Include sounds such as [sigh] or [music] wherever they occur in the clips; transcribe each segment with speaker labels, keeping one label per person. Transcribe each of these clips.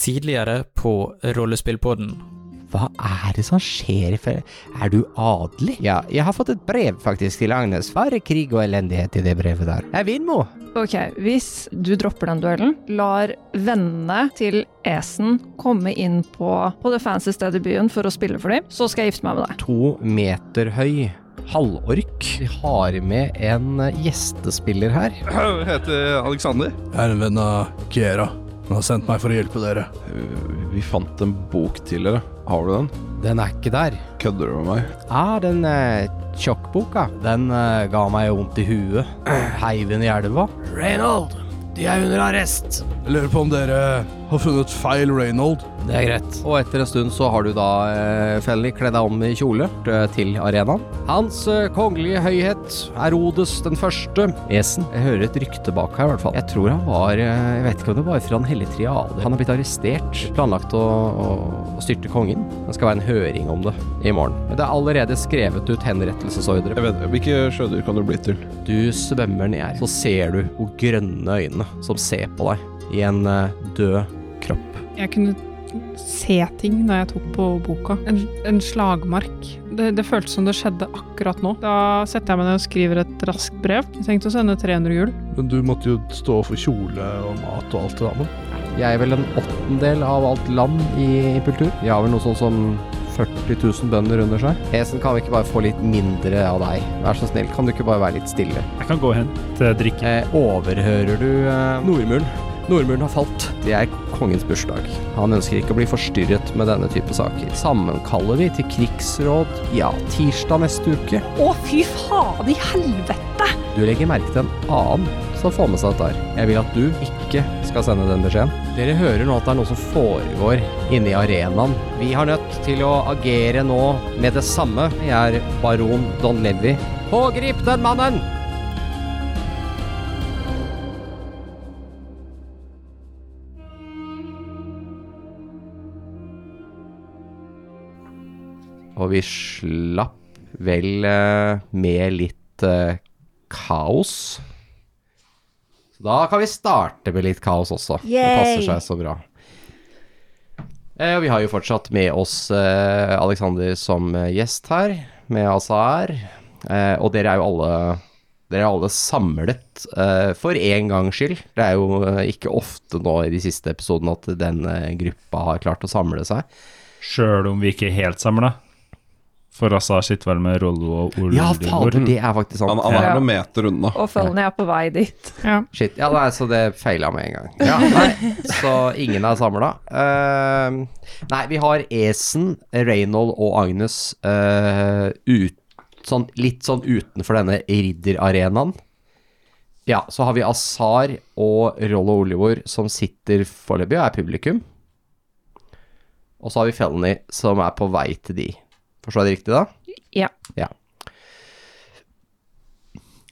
Speaker 1: tidligere på Rollespillpodden.
Speaker 2: Hva er det som skjer i ferie? Er du adelig?
Speaker 3: Ja, jeg har fått et brev faktisk til Agnes. Bare krig og elendighet i det brevet der. Jeg vinner, Mo.
Speaker 4: Ok, hvis du dropper den duellen, lar vennene til Esen komme inn på, på det fancy stedet i byen for å spille for dem, så skal jeg gifte meg med deg.
Speaker 3: To meter høy. Halvork. Vi har med en eh, gjestespiller her.
Speaker 5: Jeg heter Alexander.
Speaker 6: Jeg er en venn av Kiera. Han har sendt meg for å hjelpe dere.
Speaker 5: Vi fant en bok tidligere. Har du den?
Speaker 3: Den er ikke der.
Speaker 5: Kødder du med meg?
Speaker 3: Ah, den eh, tjokkboka. Den eh, ga meg vondt i huet. Heiv den i elva.
Speaker 6: Reynold, de er under arrest. Jeg lurer på om dere har funnet feil Reynold.
Speaker 3: Det er greit. Og etter en stund så har du da eh, Fenley kledd deg om i kjole eh, til arenaen. Hans eh, kongelige høyhet, Herodes den første. Esen. Jeg hører et rykte bak her, i hvert fall. Jeg tror han var eh, Jeg vet ikke om det var fra Den hellige triade. Han har blitt arrestert. Planlagt å, å, å styrte kongen. Det skal være en høring om det i morgen. Men det er allerede skrevet ut henrettelsesordre.
Speaker 5: Jeg vet, Hvilke sjødyr kan du bli til?
Speaker 3: Du svømmer ned, så ser du hvor grønne øynene som ser på deg i en eh, død kropp.
Speaker 7: Jeg kunne se ting da jeg tok på boka. En, en slagmark. Det, det føltes som det skjedde akkurat nå. Da setter jeg meg ned og skriver et raskt brev. Jeg tenkte å sende 300 gull.
Speaker 6: Men du måtte jo stå for kjole og mat og alt det der.
Speaker 3: Jeg er vel en åttendel av alt land i kultur. De har vel noe sånn som 40 000 bønder under seg. Esen, kan vi ikke bare få litt mindre av deg? Vær så snill, kan du ikke bare være litt stille?
Speaker 8: Jeg kan gå hen til drikke.
Speaker 3: Eh, overhører du eh, Nordmuren? Nordmuren har falt. Det er kongens bursdag. Han ønsker ikke å bli forstyrret med denne type saker. Sammenkaller vi til krigsråd, ja, tirsdag neste uke.
Speaker 9: Å, fy faen i helvete!
Speaker 3: Du legger merke til en annen som får med seg dette her. Jeg vil at du ikke skal sende den beskjeden. Dere hører nå at det er noe som foregår inne i arenaen. Vi har nødt til å agere nå med det samme. Jeg er baron Don Levi. Pågrip den mannen! Og vi slapp vel eh, med litt eh, kaos. Så da kan vi starte med litt kaos også. Det passer seg så bra. Eh, og vi har jo fortsatt med oss eh, Alexander som eh, gjest her, med Azar. Eh, og dere er jo alle dere er alle samlet eh, for én gangs skyld. Det er jo eh, ikke ofte nå i de siste episodene at denne gruppa har klart å samle seg.
Speaker 8: Sjøl om vi ikke er helt samla. For Azar sitter vel med Rollo og Olundor.
Speaker 3: Ja, fader, det er faktisk sant.
Speaker 5: Han, han er
Speaker 4: Ja.
Speaker 5: noen meter unna.
Speaker 4: Og følgende er på vei dit.
Speaker 7: Ja.
Speaker 3: Shit, ja nei, så det feila med en gang. Ja, nei, så ingen er samla. nei, vi har Esen, Reynold og Agnes eh, ut, sånn, litt sånn utenfor denne ridderarenaen. Ja, så har vi Azar og Rollo Olivor som sitter foreløpig og er publikum. Og så har vi Felny som er på vei til de. Forstår jeg det riktig da?
Speaker 4: Ja.
Speaker 3: Ja.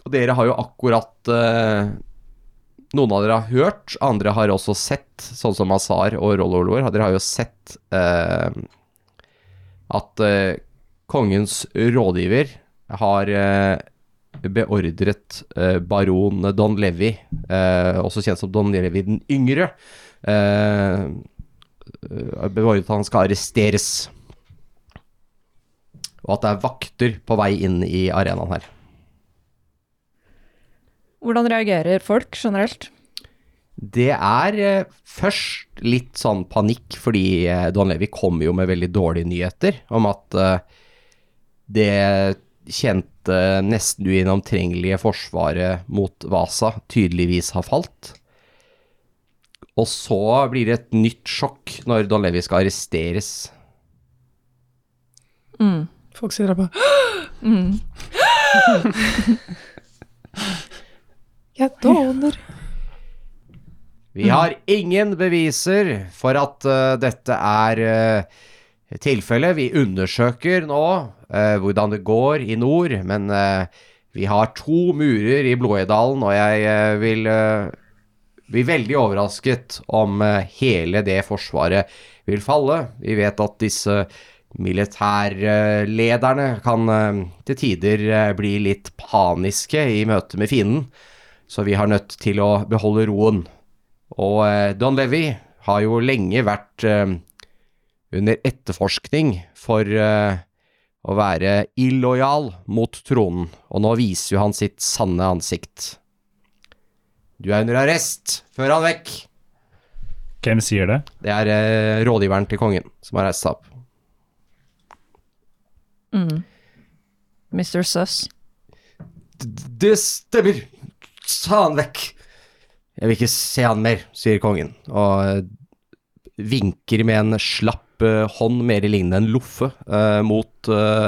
Speaker 3: Og dere har jo akkurat eh, Noen av dere har hørt, andre har også sett, sånn som Azar og Rollo Olor, dere har jo sett eh, at eh, kongens rådgiver har eh, beordret eh, baron Don Levi, eh, også kjent som Don Levi den yngre, eh, eh, beordret at han skal arresteres og at det er vakter på vei inn i arenaen her.
Speaker 4: Hvordan reagerer folk generelt?
Speaker 3: Det er eh, først litt sånn panikk, fordi eh, Don Levi kommer jo med veldig dårlige nyheter om at eh, det kjente, nesten uinnomtrengelige forsvaret mot Vasa tydeligvis har falt. Og så blir det et nytt sjokk når Don Levi skal arresteres.
Speaker 7: Folk sitter der bare Jeg dåner.
Speaker 3: Vi har ingen beviser for at eh, dette er eh, tilfellet. Vi undersøker nå eh, hvordan det går i nord, men eh, vi har to murer i Blåedalen, og jeg eh, vil eh, bli veldig overrasket om eh, hele det forsvaret vil falle. Vi vet at disse militærlederne kan eh, til tider eh, bli litt paniske i møte med fienden, så vi har nødt til å beholde roen. Og eh, Don Levi har jo lenge vært eh, under etterforskning for eh, å være illojal mot tronen, og nå viser jo han sitt sanne ansikt. Du er under arrest! Før han vekk!
Speaker 8: Hvem sier det?
Speaker 3: Det er eh, rådgiveren til kongen som har reist seg opp.
Speaker 4: Mm. Mr. Suss.
Speaker 3: D- Det stemmer! Ta han vekk! Jeg vil ikke se han mer, sier kongen, og eh, vinker med en slapp eh, hånd, mer lignende en loffe, eh, mot eh,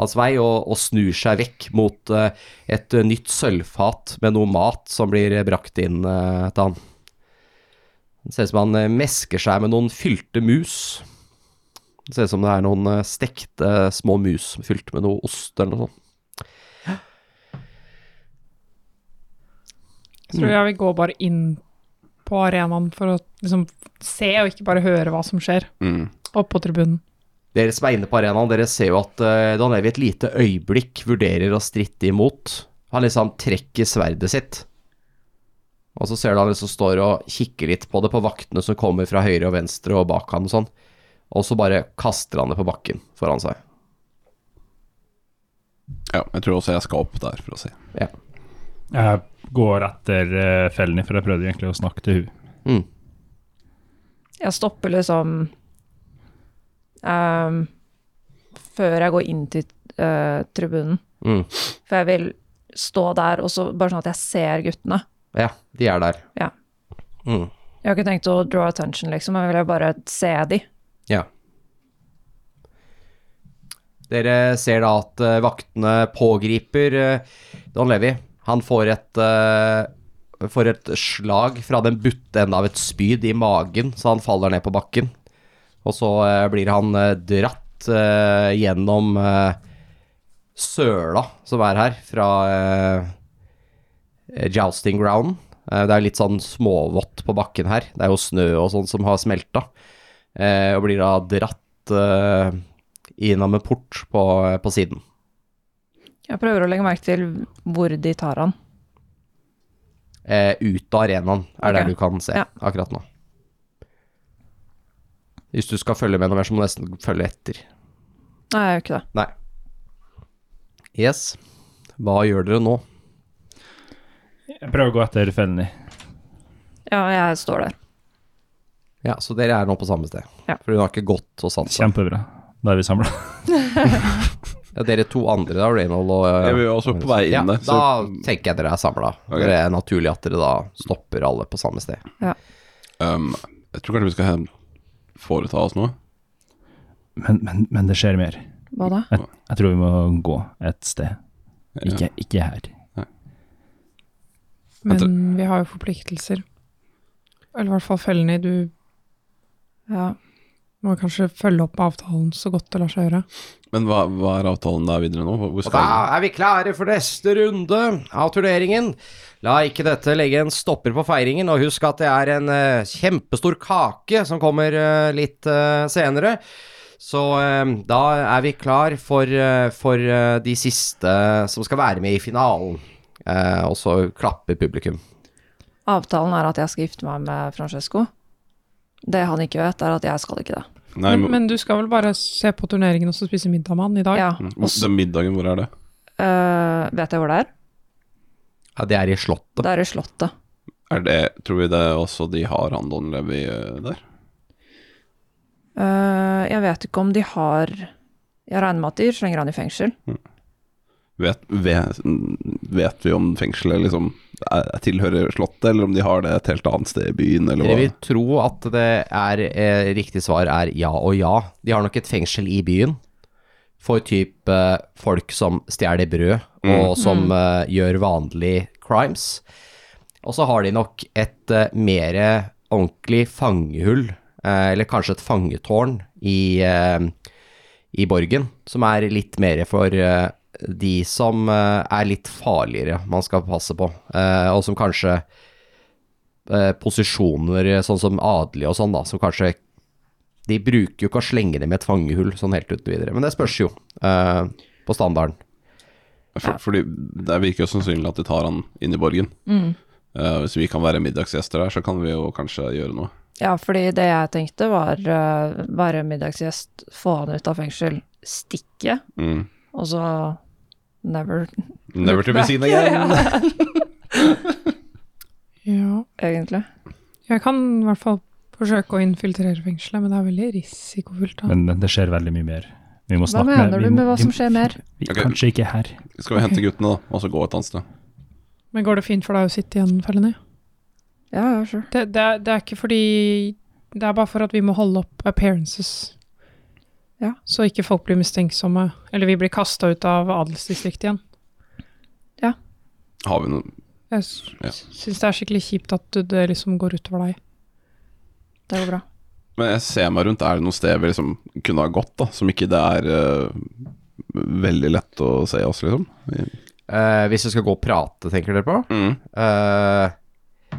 Speaker 3: hans vei, og, og snur seg vekk mot eh, et eh, nytt sølvfat med noe mat som blir eh, brakt inn eh, til han. Det ser ut som han eh, mesker seg med noen fylte mus. Det ser ut som det er noen eh, stekte små mus fylt med noe ost eller noe sånt.
Speaker 7: Jeg tror jeg vil gå bare inn på arenaen for å liksom se, og ikke bare høre hva som skjer.
Speaker 5: Mm.
Speaker 7: Opp på tribunen.
Speaker 3: Dere som er inne på arenaen, dere ser jo at uh, Don Levi et lite øyeblikk vurderer å stritte imot. Han liksom trekker sverdet sitt. Og så ser du han liksom står og kikker litt på det på vaktene som kommer fra høyre og venstre og bak han og sånn. Og så bare kaster han det på bakken foran seg.
Speaker 5: Ja, jeg tror også jeg skal opp der for å se.
Speaker 8: Jeg går etter eh, Felny, for jeg prøvde egentlig å snakke til hun.
Speaker 3: Mm,
Speaker 4: Jeg stopper liksom ehm, Før jeg går inn til eh, tribunen.
Speaker 3: Mm.
Speaker 4: For jeg vil stå der, og så bare sånn at jeg ser guttene.
Speaker 3: Ja, de er der.
Speaker 4: Ja.
Speaker 3: Mm.
Speaker 4: Jeg har ikke tenkt å draw attention, liksom. Jeg vil bare se de.
Speaker 3: Ja. Dere ser da at eh, vaktene pågriper eh, Don Levi. Han får et, eh, får et slag fra den butte enden av et spyd i magen, så han faller ned på bakken. Og så eh, blir han eh, dratt eh, gjennom eh, søla som er her, fra eh, jousting ground. Eh, det er litt sånn småvått på bakken her. Det er jo snø og sånn som har smelta eh, og blir da dratt eh, innom en port på, på siden.
Speaker 4: Jeg prøver å legge merke til hvor de tar han.
Speaker 3: Eh, ut av arenaen er
Speaker 4: Ok.
Speaker 3: det du kan se
Speaker 4: Ja.
Speaker 3: akkurat nå. Hvis du skal følge med noe mer, så må du nesten følge etter.
Speaker 4: Nei, jeg gjør ikke det.
Speaker 3: Yes. Hva gjør dere nå?
Speaker 8: Jeg prøver å gå etter Felny.
Speaker 4: Ja, jeg står der.
Speaker 3: Ja, Så dere er nå på samme sted.
Speaker 4: Ja.
Speaker 3: For hun har ikke gått og satt seg.
Speaker 8: Kjempebra. Da er vi samla.
Speaker 3: Ja, dere to andre, da, Reynold og eh,
Speaker 5: Jeg vil jo også på vei
Speaker 3: ja,
Speaker 5: inn der.
Speaker 3: Da tenker jeg dere er samla.
Speaker 5: Ok.
Speaker 3: Det er naturlig at dere da stopper alle på samme sted.
Speaker 5: Um, jeg tror kanskje vi skal hem- foreta oss noe.
Speaker 8: Men, men, men det skjer mer.
Speaker 4: Hva da?
Speaker 8: Jeg, jeg tror vi må gå et sted. Ikke, ikke her.
Speaker 7: Men vi har jo forpliktelser. Eller i hvert fall Felny, du
Speaker 4: Ja.
Speaker 7: må kanskje følge opp avtalen så godt det lar seg gjøre.
Speaker 5: Men hva, hva er avtalen der videre nå? Hvor
Speaker 3: Og
Speaker 5: skal
Speaker 3: da
Speaker 5: vi?
Speaker 3: er vi klare for neste runde av turneringen. La ikke dette legge en stopper på feiringen, og husk at det er en eh, kjempestor kake som kommer eh, litt eh, senere. Så eh, da er vi klar for, eh, for eh, de siste som skal være med i finalen. Eh, og så klapper publikum.
Speaker 4: Avtalen er at jeg skal gifte meg med Francesco. Det han ikke vet, er at jeg skal ikke det.
Speaker 5: Nei,
Speaker 7: men,
Speaker 5: men,
Speaker 7: men du skal vel bare se på turneringen og så spise middag med han i dag?
Speaker 4: Ja.
Speaker 5: hvor- den middagen, hvor er det?
Speaker 4: Øh, vet jeg hvor det er?
Speaker 3: Ja, det er i Slottet.
Speaker 4: Det er i Slottet.
Speaker 5: Er det tror vi det er også de har han Don Levi eh, der?
Speaker 4: Øh, jeg vet ikke om de har Jeg regner med at de slenger han i fengsel.
Speaker 5: Vet, vet, vet vi om fengselet liksom er, tilhører Slottet, eller om de har det et helt annet sted i byen, eller
Speaker 3: Dere
Speaker 5: hva?
Speaker 3: vil tro at det er eh, riktig svar er ja og ja. De har nok et fengsel i byen for type eh, folk som stjeler brød,
Speaker 5: Mm.
Speaker 3: og som eh, gjør vanlige crimes. Og så har de nok et eh, mer ordentlig fangehull, eh, eller kanskje et fangetårn, i, eh, i borgen, som er litt mer for eh, de som eh, er litt farligere man skal passe på, eh, og som kanskje eh, posisjoner sånn som adelige og sånn, da, som kanskje De bruker jo ikke å slenge dem i et fangehull sånn helt uten videre, men det spørs jo eh, på standarden.
Speaker 5: For, fordi det virker jo sannsynlig at de tar han inn i borgen. Eh, hvis vi kan være middagsgjester der, så kan vi jo kanskje gjøre noe.
Speaker 4: Ja, fordi det jeg tenkte var eh, være middagsgjest, få han ut av fengsel, stikke,
Speaker 5: Mm.
Speaker 4: og så never,
Speaker 5: Never to be seen
Speaker 4: [laughs] Ja,
Speaker 5: again.
Speaker 4: ja,
Speaker 7: Ja.
Speaker 4: egentlig.
Speaker 7: Jeg kan i hvert fall forsøke å infiltrere fengselet, men det er veldig risikofullt. da.
Speaker 8: Men det skjer veldig mye mer. Vi må
Speaker 4: Hva
Speaker 8: snakke
Speaker 4: mener
Speaker 8: vi
Speaker 4: du
Speaker 8: må-
Speaker 4: med hva
Speaker 8: vi-
Speaker 4: som skjer mer?
Speaker 8: Vi,
Speaker 5: Ok.
Speaker 8: Kanskje ikke her.
Speaker 5: Skal vi hente guttene, da, og så gå et annet sted?
Speaker 7: Men går det fint for deg å sitte igjen, Felony?
Speaker 4: Ja, ja, sure.
Speaker 7: Det, det, er- det er ikke fordi Det er bare for at vi må holde opp appearances.
Speaker 4: Ja.
Speaker 7: Så ikke folk blir mistenksomme. Eller vi blir kasta ut av adelsdistriktet igjen.
Speaker 5: Har vi noe
Speaker 7: Jeg s-
Speaker 5: Ja.
Speaker 7: syns det er skikkelig kjipt at du- det liksom går utover deg.
Speaker 4: Det går bra.
Speaker 5: Men jeg ser meg rundt. Er det noe sted vi liksom kunne ha gått, da? Som ikke det er eh, veldig lett å se oss, liksom?
Speaker 3: Eh, hvis du skal gå og prate, tenker dere på?
Speaker 5: Mm.
Speaker 3: Eh,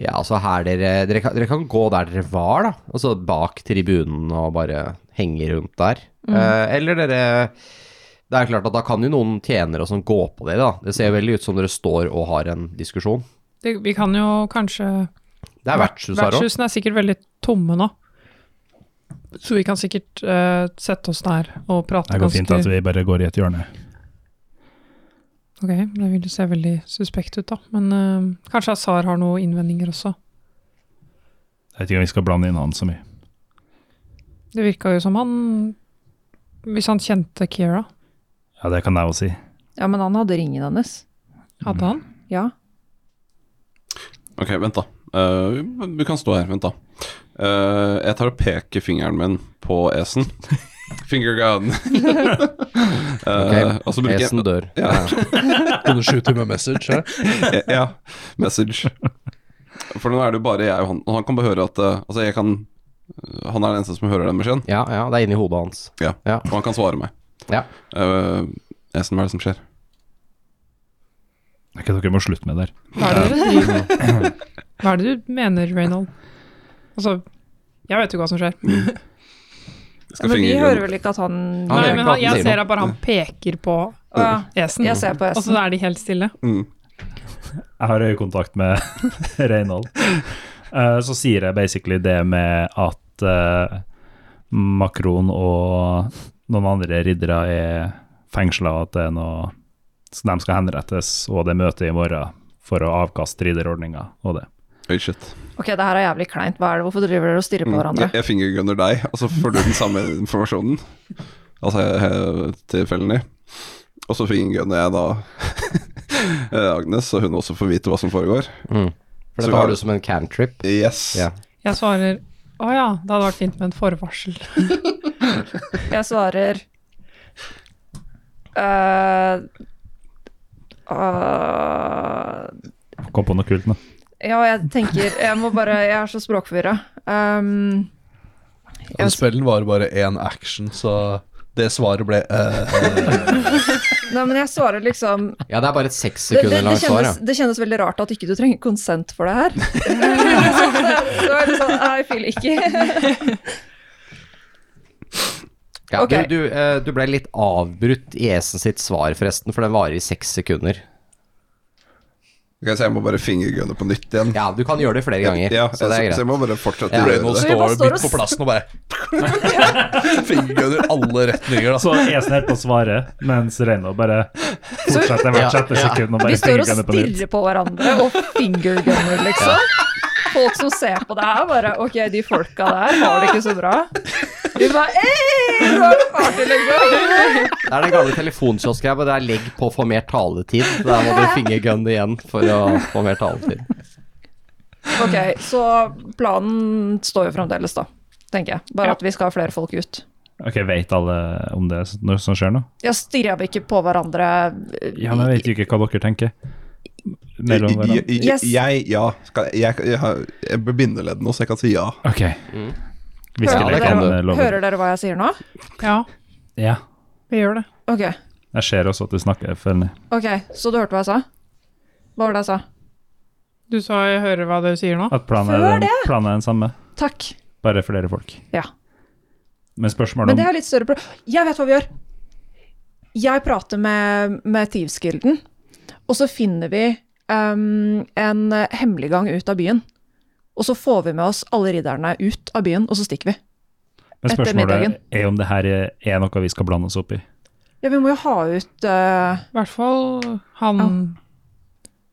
Speaker 3: ja, altså her dere dere kan, dere kan gå der dere var, da. Altså bak tribunen og bare henge rundt der. Eh, eller dere Det er klart at da kan jo noen tjenere og sånn gå på dere, da. Det ser veldig ut som dere står og har en diskusjon.
Speaker 7: Det, vi kan jo kanskje
Speaker 3: Det er vertshus her òg.
Speaker 7: Vertshusene er sikkert veldig tomme nå. Så vi kan sikkert eh, sette oss der og prate
Speaker 8: Det går fint at vi bare går i et hjørne.
Speaker 7: Ok, det vil se veldig suspekt ut da. Men eh, kanskje Azar har noen innvendinger også.
Speaker 8: Jeg vet ikke om vi skal blande inn han så mye.
Speaker 7: Det virka jo som han Hvis han kjente Kira,
Speaker 8: Ja, det kan jeg jo si.
Speaker 4: Ja, men han hadde ringen hennes.
Speaker 7: hadde han?
Speaker 4: Ja.
Speaker 5: Ok, vent da. Eh, du kan stå her, vent da. Eh, jeg tar og peker fingeren min på esen. Finger gun. Eh, og så bruker
Speaker 3: Esen dør.
Speaker 5: Ja.
Speaker 6: Kan du skyte med message? Ja?
Speaker 5: jeg ja, message. For nå er det jo bare jeg og han, og han kan bare høre at eh, Altså, jeg kan eh, Han er den eneste som hører den beskjeden,
Speaker 3: Ja, ja, det er inni hodet hans.
Speaker 5: og han kan svare meg.
Speaker 3: Ja.
Speaker 5: Eh, esen, hva er det som skjer?
Speaker 8: Det er ikke dere må slutte med det der.
Speaker 7: Hva er det dere driver Hva er det du mener, Reynold? Altså, jeg vet jo hva som skjer.
Speaker 5: Skal
Speaker 4: men vi
Speaker 5: finger
Speaker 4: hører
Speaker 5: gun-
Speaker 4: vel ikke at han
Speaker 3: Han
Speaker 7: Nei,
Speaker 3: gjør
Speaker 7: men
Speaker 3: ikke hva
Speaker 7: han,
Speaker 3: han
Speaker 7: jeg
Speaker 3: sier nå.
Speaker 7: ser at bare han peker på eh,
Speaker 4: Å ja,
Speaker 7: esen,
Speaker 4: jeg ser på
Speaker 7: og
Speaker 4: S-en.
Speaker 7: så er de helt stille.
Speaker 5: Mm.
Speaker 8: Jeg har øyekontakt med [laughs] Reynold. Eh, så sier jeg basically det med at eh, Makron og noen andre riddere er fengsla, og at det er noe Så de skal henrettes, og det er møte i morgen for å avkaste ridderordninga og det.
Speaker 5: Oi, shit. Mm.
Speaker 4: Ok, det her er jævlig kleint. Hva er det? Hvorfor driver dere og stirrer på hverandre?
Speaker 5: Jeg, jeg fingergunner deg, og så får du den samme informasjonen. Altså jeg- jeg- til Felny. Og så fingergunner jeg da [laughs] eh, Agnes, så hun også får vite hva som foregår.
Speaker 3: For
Speaker 5: Så
Speaker 3: dette
Speaker 5: vi har-
Speaker 3: har du som en cantrip.
Speaker 5: Yes.
Speaker 3: Ja.
Speaker 7: Jeg svarer å ja, det hadde vært fint med en forvarsel.
Speaker 4: Jeg svarer eh, eh,
Speaker 8: Kom på noe kult nå.
Speaker 4: Ja, jeg tenker Jeg må bare Jeg er så språkforvirra. Um,
Speaker 6: Den spellen var bare én action, så det svaret ble eh,
Speaker 4: nei, men jeg svarer liksom
Speaker 3: ja, det er bare et seks
Speaker 4: det, det,
Speaker 3: sekunder
Speaker 4: det,
Speaker 3: langt svar, ja.
Speaker 4: kjennes, det kjennes veldig rart at ikke du trenger konsent for det her. [laughs] så det, det var litt sånn I feel ikke.
Speaker 3: Ja,
Speaker 4: Ok.
Speaker 3: du, du, eh, du ble litt avbrutt i Esen sitt svar, forresten, for den varer i seks sekunder.
Speaker 5: Ok, så jeg må bare fingergunne på nytt igjen.
Speaker 3: Ja, du kan gjøre det flere ganger,
Speaker 5: Ja,
Speaker 3: så det er
Speaker 5: så,
Speaker 3: greit.
Speaker 5: jeg må bare fortsette
Speaker 3: Ja.
Speaker 5: å
Speaker 6: Reynold
Speaker 5: gjøre det.
Speaker 4: vi bare
Speaker 6: står
Speaker 4: står og
Speaker 6: midt på plassen og bare [laughs] Fingergunner alle retninger, da.
Speaker 8: Så Esen helt på svaret, mens Reynold bare fortsetter
Speaker 3: Ja,
Speaker 8: hvert sjette
Speaker 3: ja.
Speaker 8: sekund og
Speaker 4: Vi
Speaker 8: bare
Speaker 4: står og
Speaker 8: fingrene på nytt.
Speaker 4: stirrer på hverandre og fingergunner, liksom. Folk som ser på det her, bare Ok, de folka der har det ikke så bra. Vi bare Ei, nå er det party, liksom.
Speaker 3: Det er den gamle telefonkiosken her, men det er legg på for mer taletid. Der må du
Speaker 4: [laughs]
Speaker 3: fingergunne igjen for å få mer taletid.
Speaker 4: Ok, så planen står jo fremdeles, da. Tenker jeg. Bare at vi skal ha flere folk ut.
Speaker 8: Ok, Vet alle om det s- når- som skjer nå?
Speaker 4: Ja, stirrer vi ikke på hverandre eh,
Speaker 8: Ja, men Jeg vet jo ikke hva dere tenker. Mellom hverandre.
Speaker 5: Jeg,
Speaker 4: Yes.
Speaker 5: jeg, jeg ja. Skal, jeg, jeg, har- jeg bør binde leddene nå, så jeg kan si ja.
Speaker 8: Ok. Hvis
Speaker 4: Hører,
Speaker 8: dere
Speaker 3: det kan
Speaker 8: kan
Speaker 3: du.
Speaker 8: eh, love
Speaker 4: hører dere hva jeg sier nå?
Speaker 7: Ja,
Speaker 8: Ja.
Speaker 7: vi gjør det.
Speaker 4: Ok,
Speaker 8: Jeg ser også at du snakker følgende.
Speaker 4: ok, så du hørte hva jeg sa? Hva var det jeg sa?
Speaker 7: Du sa jeg hører hva dere sier nå.
Speaker 8: At planen
Speaker 4: Før
Speaker 8: er, den, planen er den samme,
Speaker 4: Takk.
Speaker 8: bare flere folk.
Speaker 4: Ja.
Speaker 8: Men spørsmålet
Speaker 4: Men det
Speaker 8: om
Speaker 4: er litt større pro- Jeg vet hva vi gjør. Jeg prater med, med Tivskilden, og så finner vi ehm, en eh, hemmelig gang ut av byen. Og så får vi med oss alle ridderne ut av byen, og så stikker vi.
Speaker 8: Men
Speaker 4: Etter middagen.
Speaker 8: spørsmålet er om det her er noe vi skal blande oss opp i.
Speaker 4: Ja, vi må jo ha ut eh,
Speaker 7: I hvert fall han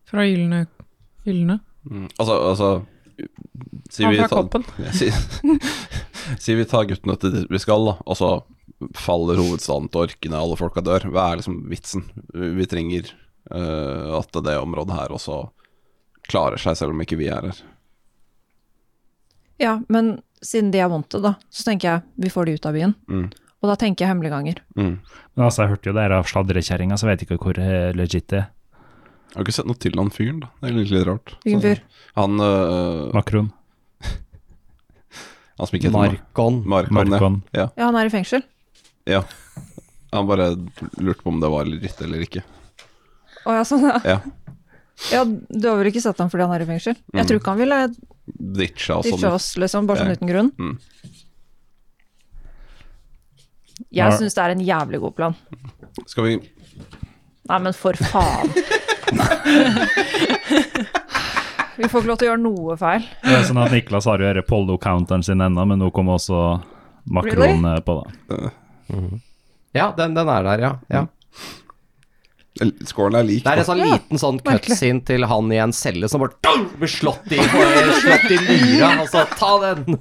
Speaker 7: fra Gylne Gylne.
Speaker 5: Mm. Altså, altså Sier
Speaker 7: Han
Speaker 5: vi,
Speaker 7: fra
Speaker 5: tar-
Speaker 7: Koppen.
Speaker 5: [laughs] Ja, sier, sier vi tar guttene til dit vi skal, da, og så faller hovedstaden til orkene, alle folka dør. Hva er liksom vitsen? Vi trenger eh, at det området her også klarer seg, selv om ikke vi er her.
Speaker 4: Ja, men siden de er wanted, da, så tenker jeg vi får de ut av byen.
Speaker 5: Mm.
Speaker 4: Og da tenker jeg hemmeligganger.
Speaker 5: Mm.
Speaker 8: Men altså, jeg hørte jo det her av sladrekjerringa, så jeg vet ikke hvor eh, legit det er.
Speaker 5: Jeg har ikke sett noe til han fyren, da. Det er litt, litt rart.
Speaker 4: Hvilken
Speaker 5: Så-
Speaker 4: fyr?
Speaker 5: Han, øh,
Speaker 8: Makron.
Speaker 5: han som ikke heter Mark.
Speaker 3: Markon.
Speaker 5: Mark, han,
Speaker 8: Markon.
Speaker 4: Ja, han er i fengsel.
Speaker 5: ja. ja. Han bare lurte på om det var litt eller ikke.
Speaker 4: Å ja, sånn, ja.
Speaker 5: Ja.
Speaker 4: Ja, du har vel ikke sett ham fordi han er i fengsel? Jeg tror ikke han ville
Speaker 5: Ditcha og
Speaker 4: ditche
Speaker 5: sånn.
Speaker 4: oss, liksom, bare sånn
Speaker 5: Ja.
Speaker 4: uten grunn.
Speaker 5: Mm.
Speaker 8: Nei.
Speaker 4: Jeg syns det er en jævlig god plan.
Speaker 5: Skal vi
Speaker 4: Nei, men for
Speaker 5: [laughs]
Speaker 4: faen. Vi får ikke lov til å gjøre noe feil.
Speaker 8: Det er sånn at Niklas har jo denne Pollo-counteren sin ennå, men nå kom også Makron eh, på, da.
Speaker 3: Ja, den, den er der, ja. ja.
Speaker 5: Skålen er lik.
Speaker 3: Det er en sånn liten sånn cutscene til han i en celle som bare dang, blir slått i, slått i lyra. Altså, ta den!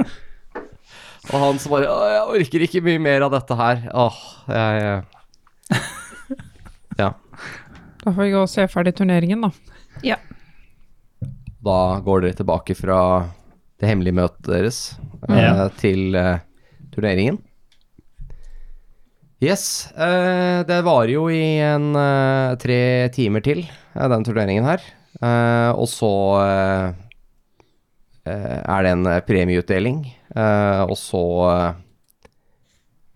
Speaker 3: Og han som bare Å, jeg orker ikke mye mer av dette her. Åh, jeg eh. Ja.
Speaker 7: Da får vi gå og se ferdig turneringen, da.
Speaker 3: Da går dere tilbake fra det hemmelige møtet deres eh,
Speaker 8: Ja.
Speaker 3: til eh, turneringen. Yes, eh, det varer jo i en eh, tre timer til, eh, den turneringen her. Eh, og så eh, eh, er det en eh, premieutdeling, eh, og så eh,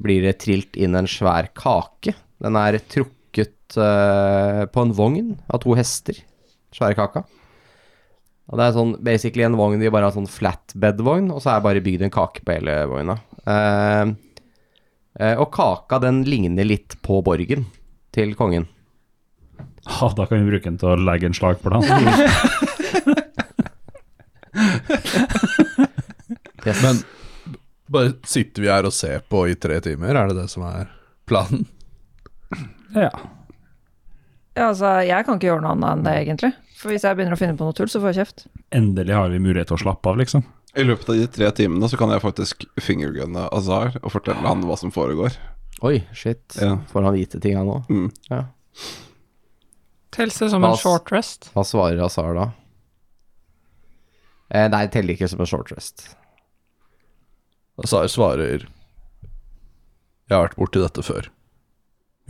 Speaker 3: blir det trilt inn en svær kake. Den er trukket eh, på en vogn av to hester, svære kaka. Og det er sånn, basically en vogn de bare har sånn flatbed-vogn, og så er bare bygd en kake på hele vogna. Eh, eh, og kaka, den ligner litt på borgen til kongen.
Speaker 8: Ha, da kan vi bruke den til å legge en slagplan.
Speaker 4: [laughs]
Speaker 8: Det
Speaker 3: Yes.
Speaker 6: Men bare sitter vi her og ser på i tre timer, er det det som er planen?
Speaker 4: Ja, altså, jeg kan ikke gjøre noe annet enn det, egentlig. For hvis jeg begynner å finne på noe tull, så får jeg kjeft.
Speaker 8: Endelig har vi mulighet til å slappe av, liksom.
Speaker 5: I løpet av de tre timene så kan jeg faktisk fingergunne Azar og fortelle han hva som foregår.
Speaker 3: Oi, shit.
Speaker 5: Ja.
Speaker 3: Får han vite ting, han òg?
Speaker 5: Mm.
Speaker 3: Ja.
Speaker 7: Telles det som en
Speaker 3: Bas.
Speaker 7: short rest?
Speaker 3: Hva svarer Azar da? Eh, nei, det teller ikke som en short rest.
Speaker 6: Azar svarer Jeg har vært borti dette før.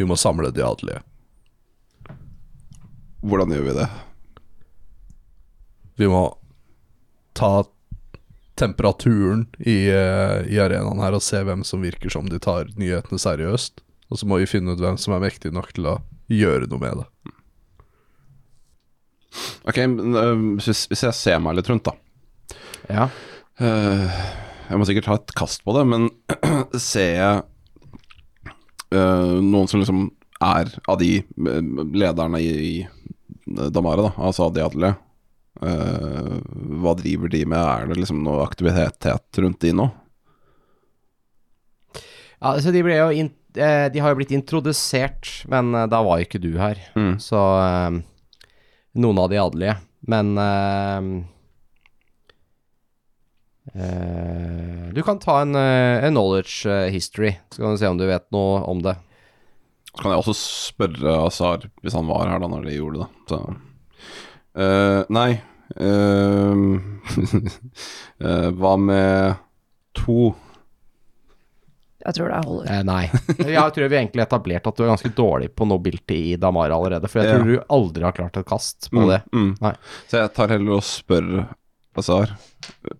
Speaker 6: Vi må samle de adelige.
Speaker 5: Hvordan gjør vi det?
Speaker 6: Vi må ta temperaturen i, eh, i arenaen her og se hvem som virker som de tar nyhetene seriøst. Og så må vi finne ut hvem som er mektig nok til å gjøre noe med det.
Speaker 5: Ok, men, øhm, hvis, hvis jeg ser meg litt rundt, da.
Speaker 3: Ja.
Speaker 5: Øh, jeg må sikkert ta et kast på det, men [clears throat] ser jeg øh, noen som liksom er av de øh, lederne i, i Damare, da, altså de adelige? Øh, hva driver de med, er det liksom noe aktivitet rundt de nå?
Speaker 3: ja så de, ble jo in eh, de har jo blitt introdusert, men eh, da var jo ikke du her.
Speaker 5: Mm.
Speaker 3: Så eh, noen av de adelige. Men ehm, eh, eh, Du kan ta en, eh, en knowledge eh, history, så kan du se om du vet noe om det.
Speaker 5: Så kan jeg også spørre Azar hvis han var her da når de gjorde det. Så. Eh, nei eh, [laughs] eh, Hva med to?
Speaker 4: Jeg tror det holder.
Speaker 3: Eh, nei. [laughs] Jeg tror vi egentlig etablert at du er ganske dårlig på nobility i Damara allerede, for jeg tror du aldri har klart et kast på det.
Speaker 5: Mm, mm.
Speaker 3: Nei.
Speaker 5: Så jeg tar heller og spør Azar.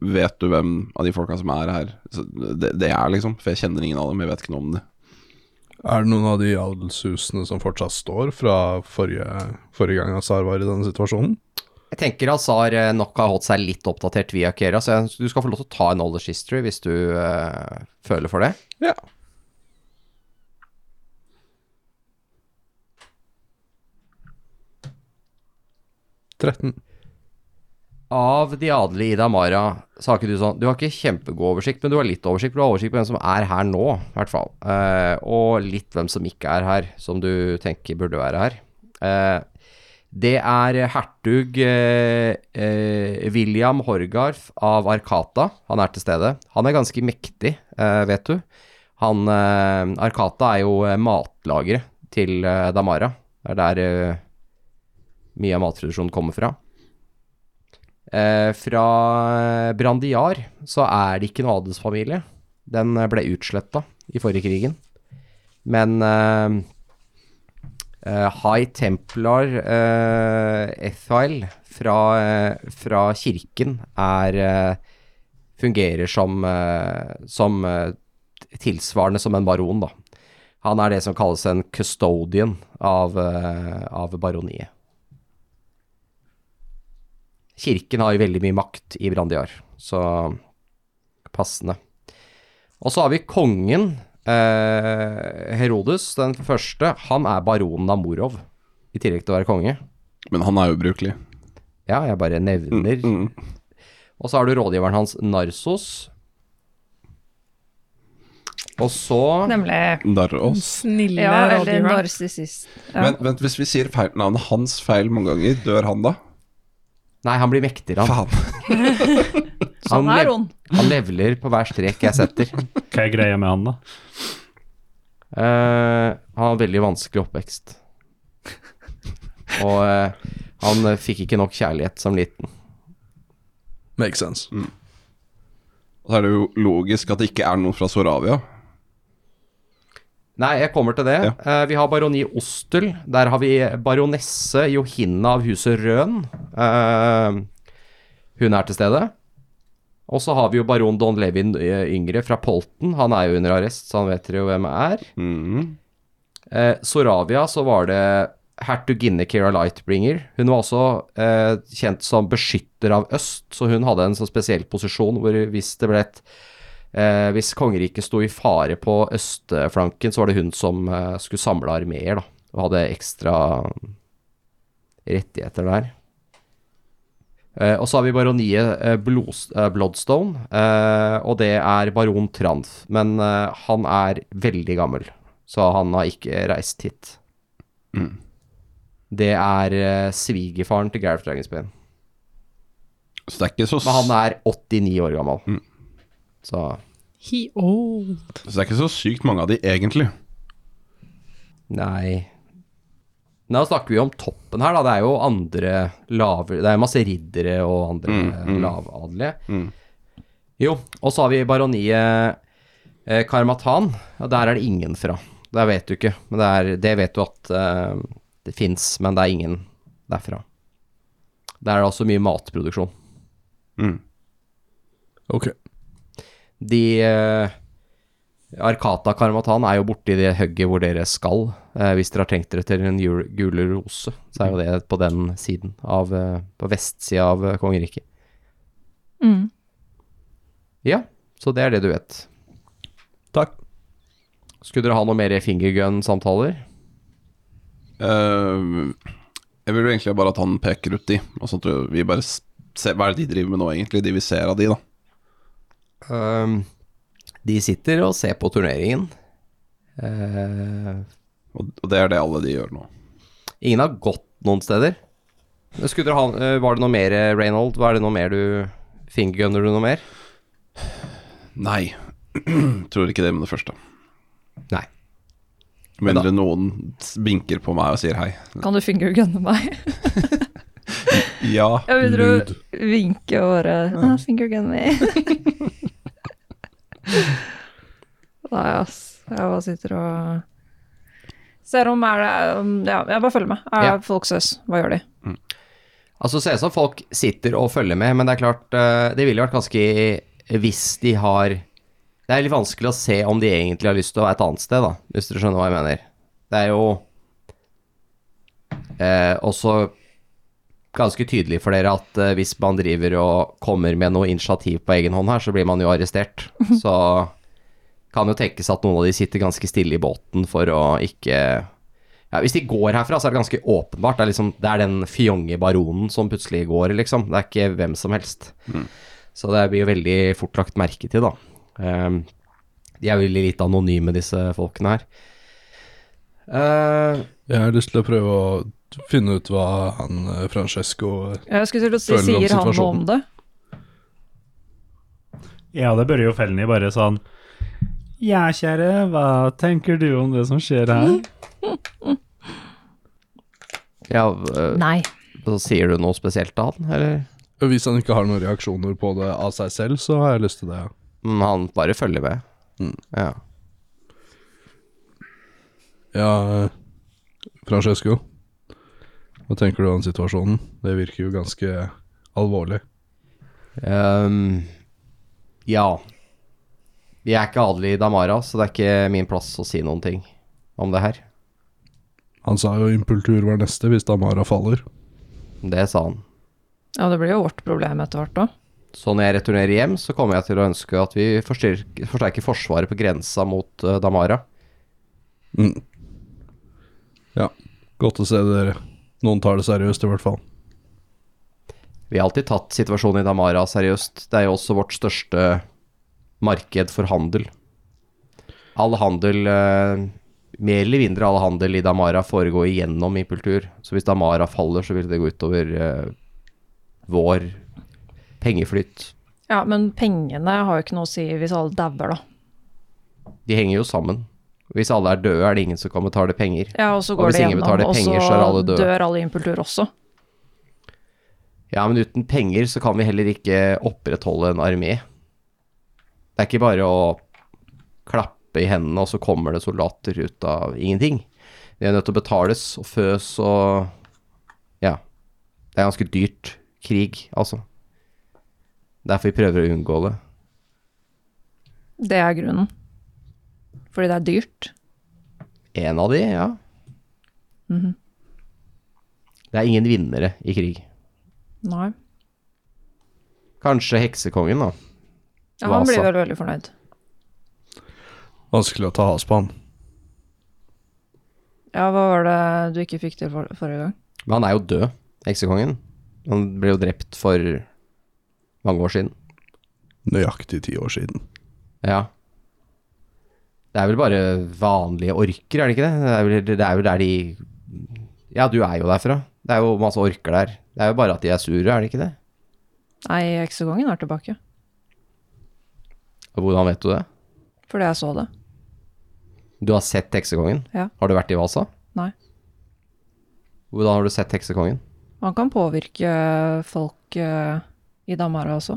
Speaker 5: Vet du hvem av de folka som er her, så det, det er, liksom? For jeg kjenner ingen av dem, jeg vet ikke noe om dem.
Speaker 6: Er det noen av de adelshusene som fortsatt står fra forrige, forrige gang Azar var i denne situasjonen?
Speaker 3: Jeg tenker Azar eh, nok har holdt seg litt oppdatert via Kera, så jeg- du skal få lov til å ta en knowledge history hvis du eh, føler for det.
Speaker 6: Ja. 13.
Speaker 3: Av de adelige i Damara så har ikke du sånn Du har ikke kjempegod oversikt, men du har litt oversikt. Du har oversikt på hvem som er her nå, i hvert fall. Eh, og litt hvem som ikke er her, som du tenker burde være her. Eh, det er hertug eh, eh, William Horgarf av Arkata. Han er til stede. Han er ganske mektig, eh, vet du. Han eh, Arkata er jo eh, matlageret til eh, Damara. Det er der eh, mye av mattradisjonen kommer fra. Eh, fra Brandiar så er det ikke noe adelsfamilie. Den eh, ble utsletta i forrige krigen. Men eh, eh, High Templar eh, Ethail fra, eh, fra kirken er eh, Fungerer som, eh, som eh, tilsvarende som en baron, da. Han er det som kalles en custodian av, eh, av baroniet. Kirken har jo veldig mye makt i Brandiar, så passende. Og så har vi kongen, eh, Herodes, den første. Han er baronen av Morov, i tillegg til å være konge.
Speaker 5: Men han er ubrukelig.
Speaker 3: Ja, jeg bare nevner.
Speaker 5: Mm.
Speaker 3: Og så har du rådgiveren hans, Narsos. Og så
Speaker 4: Nemlig.
Speaker 5: Darros.
Speaker 7: Snille
Speaker 4: Ja, eller
Speaker 7: rådgiver.
Speaker 4: narsissist. Ja.
Speaker 5: Vent, vent, hvis vi sier feil navnet hans feil mange ganger, dør han da?
Speaker 3: Nei, han blir mektigere. Han,
Speaker 5: Faen.
Speaker 4: Han
Speaker 3: lev-
Speaker 4: Sånn er ond.
Speaker 3: han leveler på hver strek jeg setter.
Speaker 8: Hva er greia med han, da?
Speaker 3: Eh, han hadde veldig vanskelig oppvekst. Og eh, han eh, fikk ikke nok kjærlighet som liten.
Speaker 6: Makes sense.
Speaker 5: Og så er det jo logisk at det ikke er noen fra Soravia.
Speaker 3: Nei, jeg kommer til det. Eh, vi har baroni Ostel. Der har vi baronesse Johinna av huset Røn. Eh, hun er til stede. Og så har vi jo baron Don Levin eh, yngre fra Polten. Han er jo under arrest, så han vet dere jo hvem er.
Speaker 5: Mm.
Speaker 3: Eh, Soravia så var det hertuginne Kira Lightbringer. Hun var også eh, kjent som beskytter av øst, så hun hadde en sånn spesiell posisjon hvor hvis det ble et eh, Hvis kongeriket sto i fare på østflanken, så var det hun som eh, skulle samle armeer, da, og hadde ekstra mm, rettigheter der. Eh, og så har vi baroniet eh, Blos- eh, Bloodstone, eh, og det er baron Tranf. Men eh, han er veldig gammel, så han har ikke reist hit. Det er eh, svigerfaren til Gareth Dragonsbane.
Speaker 5: Så det er ikke så,
Speaker 3: Men han er 89 år gammel. Så
Speaker 7: He old.
Speaker 5: så det er ikke så sykt mange av de egentlig.
Speaker 3: Nei Nå snakker vi om toppen her, da. Det er jo andre lavere Det er masse riddere og andre lavadelige. Jo, og så har vi baroniet eh, Karmatan. Og der er det ingen fra. Der vet du ikke. Men det, er, det vet du at eh, det fins, men det er ingen derfra. Der er det også mye matproduksjon.
Speaker 6: Ok.
Speaker 3: De eh, Arkata Karmatan er jo borti det hugget hvor dere skal. Eh, hvis dere har tenkt dere til en jul- gule rose, så er jo det på den siden av eh, På vestsida av eh, kongeriket.
Speaker 4: Mm.
Speaker 3: Ja, så det er det du vet.
Speaker 6: Takk.
Speaker 3: Skulle dere ha noe mer fingergun-samtaler?
Speaker 5: Eh, jeg vil jo egentlig bare at han peker ut de. Altså at vi bare s- ser Hva er det de driver med nå, egentlig? De vi ser av de, da.
Speaker 3: Ehm, de sitter og ser på turneringen. Eh,
Speaker 5: Og, og det er det alle de gjør nå.
Speaker 3: ingen har gått noen steder. Skulle dere ha, eh, var det noe mer, eh, Reynold? Var det noe mer du Fingergunner du noe mer?
Speaker 5: Nei. [clears throat] Tror ikke det med det første.
Speaker 3: Nei.
Speaker 5: Med mindre noen s- vinker på meg og sier hei.
Speaker 4: Kan du fingergunne meg?
Speaker 5: Ja.
Speaker 4: Jeg begynner å vinke og bare ah, Fingergun me. [laughs] Nei, ass. Jeg bare sitter og ser om er det um, Ja, jeg bare følger med. Er
Speaker 3: Ja.
Speaker 4: folk søs? Hva gjør de?
Speaker 3: Altså, ser ut som folk sitter og følger med, men det er klart eh, Det ville vært ganske eh, Hvis de har Det er litt vanskelig å se om de egentlig har lyst til å være et annet sted, da, hvis dere skjønner hva jeg mener. Det er jo eh, også ganske tydelig for dere at eh, hvis man driver og kommer med noe initiativ på egen hånd her, så blir man jo arrestert. Så kan jo tenkes at noen av de sitter ganske stille i båten for å ikke ja, Hvis de går herfra, så er det ganske åpenbart. Det er, liksom, det er den fjonge baronen som plutselig går, liksom. Det er ikke hvem som helst. Så det blir jo veldig fort lagt merke til, da. Ehm, de er veldig litt anonyme, disse folkene her. Eh,
Speaker 6: Jeg har lyst til å prøve å finne ut hva han eh, Francesco
Speaker 4: Jeg skulle til å si,
Speaker 6: Føler du om
Speaker 4: sier han noe om
Speaker 6: situasjonen?
Speaker 4: det?
Speaker 8: Ja, det bør jo Felny bare sånn Ja, kjære, hva tenker du om det som skjer her?
Speaker 3: ja, eh,
Speaker 4: Nei.
Speaker 3: så sier du noe spesielt til han, eller?
Speaker 6: Hvis han ikke har noen reaksjoner på det av seg selv, så har jeg lyst til det. ja.
Speaker 3: Mm, han bare følger med. Ja.
Speaker 6: Ja, eh, Francesco, hva tenker du om situasjonen? Det virker jo ganske alvorlig.
Speaker 3: Ehm, ja. Jeg er ikke adelig i Damara, så det er ikke min plass å si noen ting om det her.
Speaker 6: Han sa jo impultur var neste hvis Damara faller.
Speaker 3: Det sa han.
Speaker 4: Ja, det blir jo vårt problem etter hvert òg.
Speaker 3: Så når jeg returnerer hjem, så kommer jeg til å ønske at vi forstyrk- forsterker forsvaret på grensa mot eh, Damara.
Speaker 6: Ja, godt å se dere. Noen tar det seriøst i hvert fall.
Speaker 3: Vi har alltid tatt situasjonen i Damara seriøst. Det er jo også vårt største marked for handel. All handel, eh, mer eller mindre all handel i Damara foregår igjennom impultur. Så hvis Damara faller, så vil det gå utover eh, vår pengeflyt.
Speaker 4: Ja, men pengene har jo ikke noe å si hvis alle dauer, da.
Speaker 3: De henger jo sammen. Hvis alle er døde, er det ingen som kan betale penger.
Speaker 4: Ja, og så
Speaker 3: Og
Speaker 4: går
Speaker 3: hvis
Speaker 4: det
Speaker 3: ingen
Speaker 4: gjennom,
Speaker 3: betaler
Speaker 4: og
Speaker 3: penger, så er alle
Speaker 4: så
Speaker 3: døde.
Speaker 4: dør alle i impultur også.
Speaker 3: Ja, men uten penger så kan vi heller ikke opprettholde en armé. Det er ikke bare å klappe i hendene, og så kommer det soldater ut av ingenting. De er nødt til å betales og føs og Ja. Det er ganske dyrt. Krig, altså. Derfor vi prøver å unngå det.
Speaker 4: Det er grunnen. Fordi det er dyrt.
Speaker 3: En av de, ja. Det er ingen vinnere i krig.
Speaker 4: Nei.
Speaker 3: Kanskje heksekongen, da.
Speaker 4: Ja, han blir
Speaker 3: Vasa.
Speaker 4: vel veldig fornøyd.
Speaker 6: Vanskelig å ta has på han.
Speaker 4: Ja, hva var det du ikke fikk til for forrige gang?
Speaker 3: Men han er jo død, heksekongen. Han ble jo drept for mange år siden.
Speaker 6: Nøyaktig ti år siden.
Speaker 3: Ja. Det er vel bare vanlige orker, er det ikke det? Det er vel, det er vel der de Ja, du er jo derfra. Det er jo masse orker der. Det er jo bare at de er sure, er det ikke det?
Speaker 4: Nei, heksekongen er tilbake.
Speaker 3: Og Hvordan vet du det?
Speaker 4: Fordi jeg så det.
Speaker 3: Du har sett heksekongen?
Speaker 4: Ja.
Speaker 3: Har du vært i Vasa?
Speaker 4: Nei.
Speaker 3: Hvordan har du sett heksekongen?
Speaker 4: Han kan påvirke folk eh, i Damara også.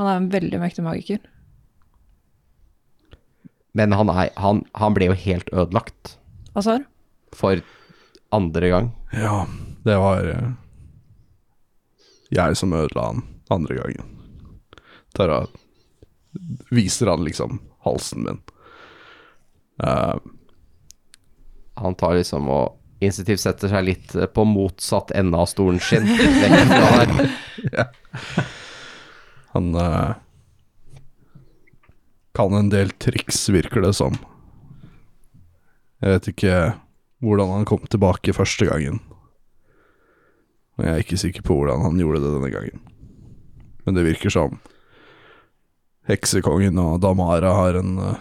Speaker 4: Han er en veldig mektig magiker.
Speaker 3: Men han, er, han, han ble jo helt ødelagt
Speaker 4: Azar?
Speaker 3: for andre gang.
Speaker 6: Ja, det var eh, jeg som ødela han andre gangen. Tara viser han liksom halsen min. Eh,
Speaker 3: Han tar liksom og initiativsetter seg litt eh, på motsatt ende av stolen sin. Vekk fra der.
Speaker 6: han eh, kan en del triks, virker det som. Jeg vet ikke hvordan han kom tilbake første gangen. Og jeg er ikke sikker på hvordan han gjorde det denne gangen. Men det virker som heksekongen og Damara har en eh,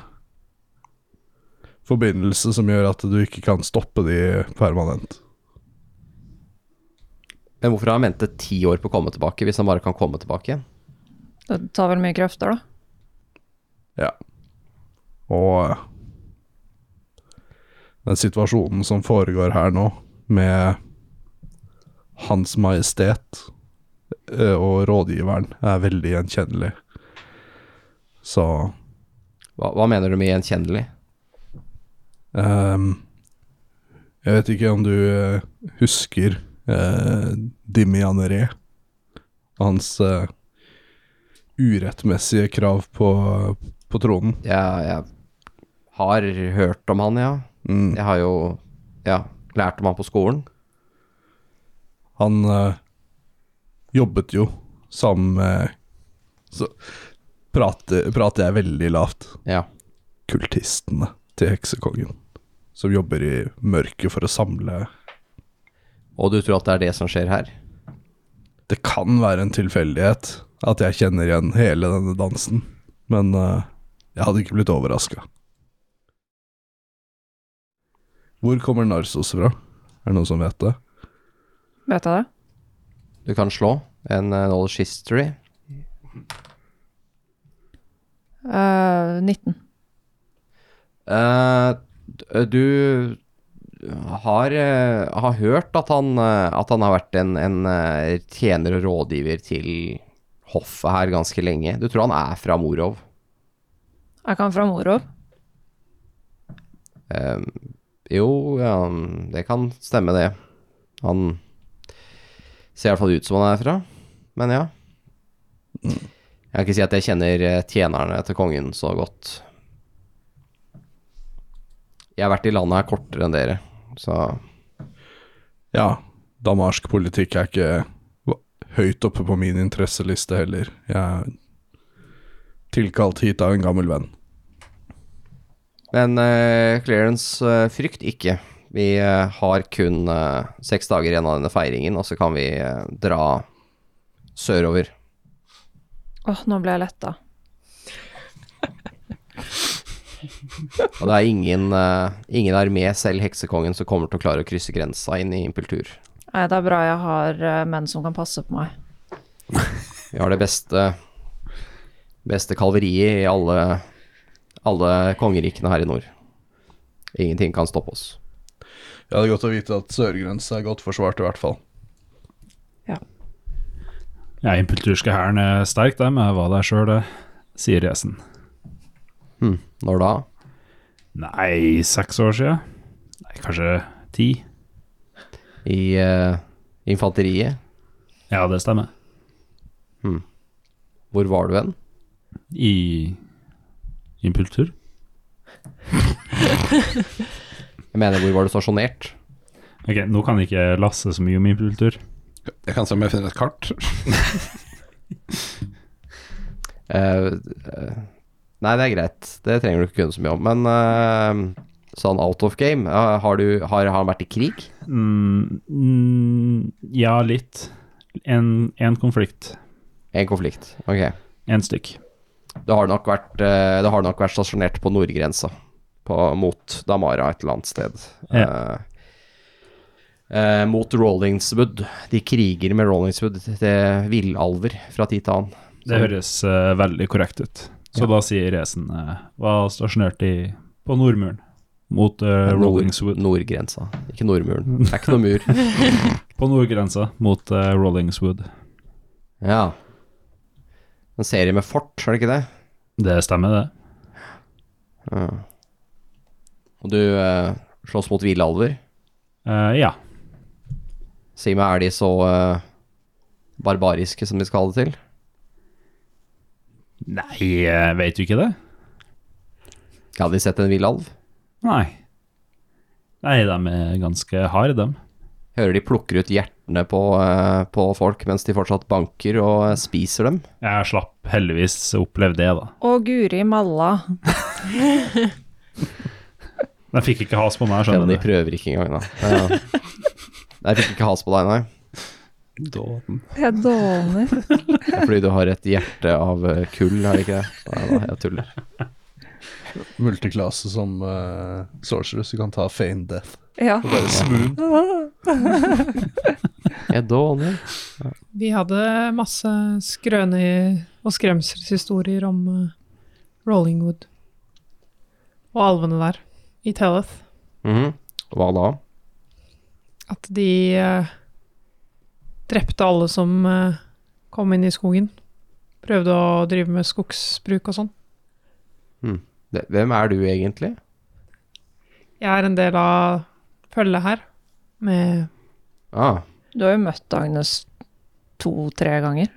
Speaker 6: forbindelse som gjør at du ikke kan stoppe de permanent.
Speaker 3: Men hvorfor har han ventet ti år på å komme tilbake, hvis han bare kan komme tilbake igjen?
Speaker 4: Det tar vel mye krefter, da.
Speaker 6: Ja. Og eh, den situasjonen som foregår her nå, med Hans Majestet eh, og rådgiveren, er veldig gjenkjennelig. Så
Speaker 3: Hva, hva mener du med gjenkjennelig?
Speaker 6: ehm, Jeg vet ikke om du eh, husker uh, Dimianeré og hans eh, urettmessige krav på, på tronen.
Speaker 3: Jeg, jeg har hørt om han, ja.
Speaker 6: Mm.
Speaker 3: Jeg har jo ja, lært om han på skolen.
Speaker 6: Han eh, jobbet jo sammen med Så prater, prater jeg veldig lavt.
Speaker 3: Ja.
Speaker 6: Kultistene til heksekongen. som jobber i mørket for å samle
Speaker 3: Og du tror at det er det som skjer her?
Speaker 6: Det kan være en tilfeldighet at jeg kjenner igjen hele denne dansen, men eh, jeg hadde ikke blitt overraska. Hvor kommer Narsos fra? Er det noen som vet det?
Speaker 4: Vet jeg det?
Speaker 3: Du kan slå en eh, knowledge history.
Speaker 4: Eh, 19.
Speaker 3: Eh, d- du har, eh, har hørt at han, eh, at han har vært en, en eh, tjener og rådgiver til hoffet her ganske lenge. Du tror han er fra Morov.
Speaker 4: Jeg kan fra Morov.
Speaker 3: Eh, jo, ja, det kan stemme, det. Han ser i hvert fall ut som han er fra, men ja. Jeg kan ikke si at jeg kjenner eh, tjenerne til kongen så godt. Jeg har vært i landet her kortere enn dere, så
Speaker 6: Ja, damarsk politikk er ikke va- høyt oppe på min interesseliste heller. Jeg er tilkalt hit av en gammel venn.
Speaker 3: Men eh, Clarence, eh, frykt ikke. Vi eh, har kun eh, seks dager igjen av denne feiringen, og så kan vi eh, dra sørover.
Speaker 4: Åh, nå ble jeg letta.
Speaker 3: Og det er ingen, eh, ingen armé, selv heksekongen, som kommer til å klare å krysse grensa inn i impultur.
Speaker 4: Nei, det er bra jeg har eh, menn som kan passe på meg.
Speaker 3: Vi har det beste, beste kalveriet i alle, alle kongerikene her i nord. Ingenting kan stoppe oss.
Speaker 6: Ja, det er godt å vite at sørgrensa er godt forsvart, i hvert fall.
Speaker 8: Ja, impulturske hæren er sterk, dem. Jeg var der sjøl, sier Jesen.
Speaker 3: Hm. Når da?
Speaker 8: Nei, seks år sia? Nei, kanskje ti?
Speaker 3: I eh, infanteriet?
Speaker 8: Ja, det stemmer.
Speaker 3: Hvor var du hen?
Speaker 8: I impultur?
Speaker 3: Jeg mener, hvor var du stasjonert?
Speaker 8: Ok, nå kan ikke Lasse så mye om impultur.
Speaker 5: Jeg kan se om jeg finner et kart.
Speaker 3: Eh, eh, nei, det er greit. Det trenger du ikke kunne så mye om. Men eh, sånn out of game, eh, har, du, har, har han vært i krig?
Speaker 8: Mm, mm, ja, litt. En, en konflikt.
Speaker 3: En konflikt. Ok.
Speaker 8: En stykk.
Speaker 3: Det har nok vært, eh, det har nok vært stasjonert på nordgrensa, på, mot Damara et eller annet sted.
Speaker 8: Ja.
Speaker 3: Eh, eh, mot Rollingswood. De kriger med Rollingswood. Det er villalver fra tid til annen.
Speaker 8: Det høres eh, veldig korrekt ut. Så da sier Resen eh, var stasjonert i, på Nordmuren mot eh, Rollingswood.
Speaker 3: Nordgrensa, ikke Nordmuren. Det er ikke noe
Speaker 8: [laughs]
Speaker 3: mur.
Speaker 8: På nordgrensa mot eh, Rollingswood.
Speaker 3: Ja. En serie med fort, er det ikke det?
Speaker 8: Det stemmer, det.
Speaker 3: Ja. Og du eh, slåss mot hvilealver.
Speaker 8: Eh, ja.
Speaker 3: Si meg, er de så eh, barbariske som de skal ha det til?
Speaker 8: Nei, eh, vet du ikke det?
Speaker 3: Hadde de sett en hvilealv?
Speaker 8: Nei. Nei, de er ganske harde, dem.
Speaker 3: Hører de plukker ut hjertene på, eh, på folk mens de fortsatt banker og eh, spiser dem?
Speaker 8: Jeg slapp heldigvis å oppleve det, da.
Speaker 4: Å, guri malla.
Speaker 8: De fikk ikke has på
Speaker 3: Selv
Speaker 8: meg,
Speaker 3: om
Speaker 8: skjønner
Speaker 3: de
Speaker 8: du.
Speaker 3: prøver ikke engang, da. [laughs] Ja. Nei, Jeg fikk ikke has på deg, nei.
Speaker 4: Jeg dåner. [laughs]
Speaker 3: Det er fordi du har et hjerte av eh, kull, er det ikke [laughs] det? Nei da, jeg tuller.
Speaker 6: Multiklasse som uh, sorceress, du kan ta fane death.
Speaker 4: Ja.
Speaker 6: Bare smooth.
Speaker 3: Jeg dåner.
Speaker 7: Vi hadde masse skrøne- og skremselshistorier om eh, Rollingwood og alvene der i Telleth.
Speaker 3: Mhm. Hva da?
Speaker 7: At de eh, drepte alle som eh, kom inn i skogen. Prøvde å drive med skogsbruk og sånn.
Speaker 3: Det- Hvem er du egentlig?
Speaker 7: Jeg er en del av følget her, med
Speaker 3: Ah,
Speaker 4: Du har jo møtt Agnes to-tre ganger.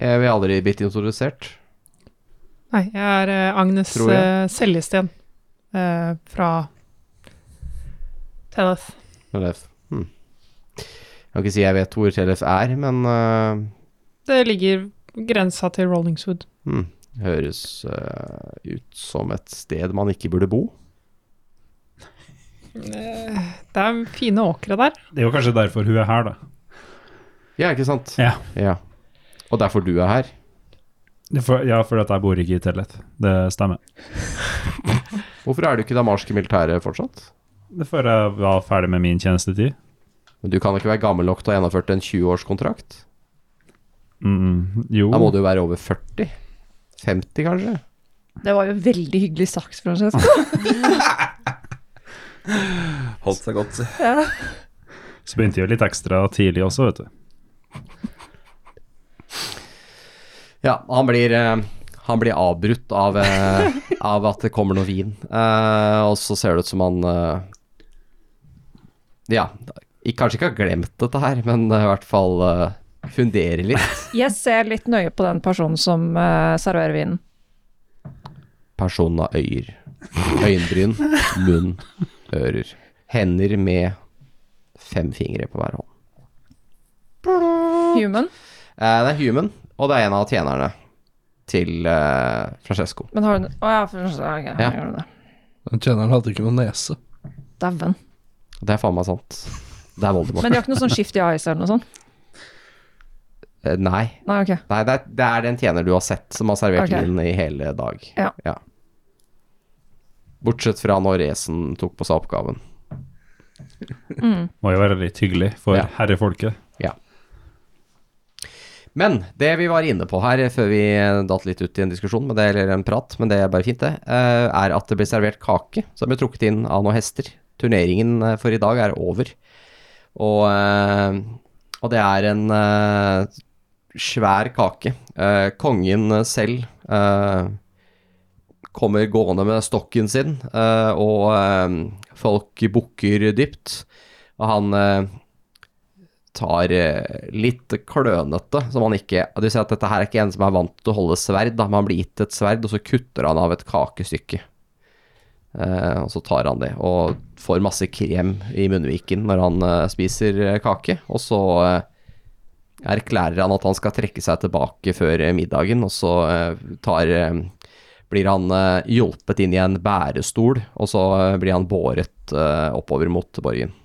Speaker 3: jeg vil aldri blitt introdusert.
Speaker 7: Nei, jeg er eh, Agnes
Speaker 3: Tror jeg.
Speaker 7: eh, Seljesten eh, fra Telleth.
Speaker 3: Tellef. Hm. Jeg kan ikke si jeg vet hvor Tellef er, men øh,
Speaker 7: Det ligger grensa til Rollingswood.
Speaker 3: hmm, eh, hm, høres øh, ut som et sted man ikke burde bo.
Speaker 7: Eh, Det er fine åkre der.
Speaker 8: Det er jo kanskje derfor hun er her, da.
Speaker 3: Ja, ikke sant?
Speaker 8: Ja.
Speaker 3: ja. Og derfor du er her.
Speaker 8: Det er For, ja, fordi at jeg bor ikke i Tellet. Det stemmer.
Speaker 3: Hvorfor er du ikke i det amarske militæret fortsatt?
Speaker 8: Det er før jeg var ferdig med min tjenestetid.
Speaker 3: Men du kan ikke være gammel nok til å ha gjennomført en 20-årskontrakt.
Speaker 8: Mm, jo.
Speaker 3: Da må du jo være over 40. 50, kanskje?
Speaker 4: Det var jo veldig hyggelig sagt, Francesco.
Speaker 5: Holdt seg godt.
Speaker 8: Så begynte jeg jo litt ekstra tidlig også, vet du.
Speaker 3: Ja, han blir, eh, han blir avbrutt av, eh, av at det kommer noe vin. Eh, og så ser det ut som han eh, Ja, ik- kanskje ikke har glemt dette her, men eh, i hvert fall eh, funderer litt.
Speaker 4: Jeg ser litt nøye på den personen som eh, serverer vinen.
Speaker 3: Personen har øyer. Øyenbryn, munn, ører. Hender med fem fingre på hver hånd.
Speaker 4: Human.
Speaker 3: Eh, det er Human, og det er en av tjenerne til eh, Francesco.
Speaker 4: Men har hun Å ja, for, ok, jeg
Speaker 3: Ja.
Speaker 4: gjorde det.
Speaker 6: Den tjeneren hadde ikke noe nese.
Speaker 4: Dæven.
Speaker 3: Det er faen meg sant. Det er Voldemort.
Speaker 4: Men de har ikke noe sånn skift i eyes eller noe sånt?
Speaker 3: Eh, nei.
Speaker 4: Nei, ok.
Speaker 3: Nei, det er, det er den tjener du har sett, som har servert
Speaker 4: Ok.
Speaker 3: vinen i hele dag.
Speaker 4: Ja.
Speaker 3: Bortsett fra når Resen tok på seg oppgaven.
Speaker 8: Må jo være litt hyggelig for
Speaker 3: Ja.
Speaker 8: herrefolket.
Speaker 3: Men det vi var inne på her, før vi datt litt ut i en diskusjon, med det, eller en prat, men det er bare fint, det, eh, er at det ble servert kake som ble trukket inn av noen hester. Turneringen eh, for i dag er over. Og, eh, og det er en eh, svær kake. Eh, Kongen selv eh, kommer gående med stokken sin, eh, og eh, folk bukker dypt. Og han eh, tar eh, litt klønete, som han ikke Du ser at dette her er ikke en som er vant til å holde sverd, da, men han blir gitt et sverd, og så kutter han av et kakestykke. Eh, og så tar han det, og får masse krem i munnviken når han eh, spiser eh, kake. Og så eh, erklærer han at han skal trekke seg tilbake før eh, middagen, og så eh, tar eh, blir han eh, hjulpet inn i en bærestol, og så eh, blir han båret eh, oppover mot borgen.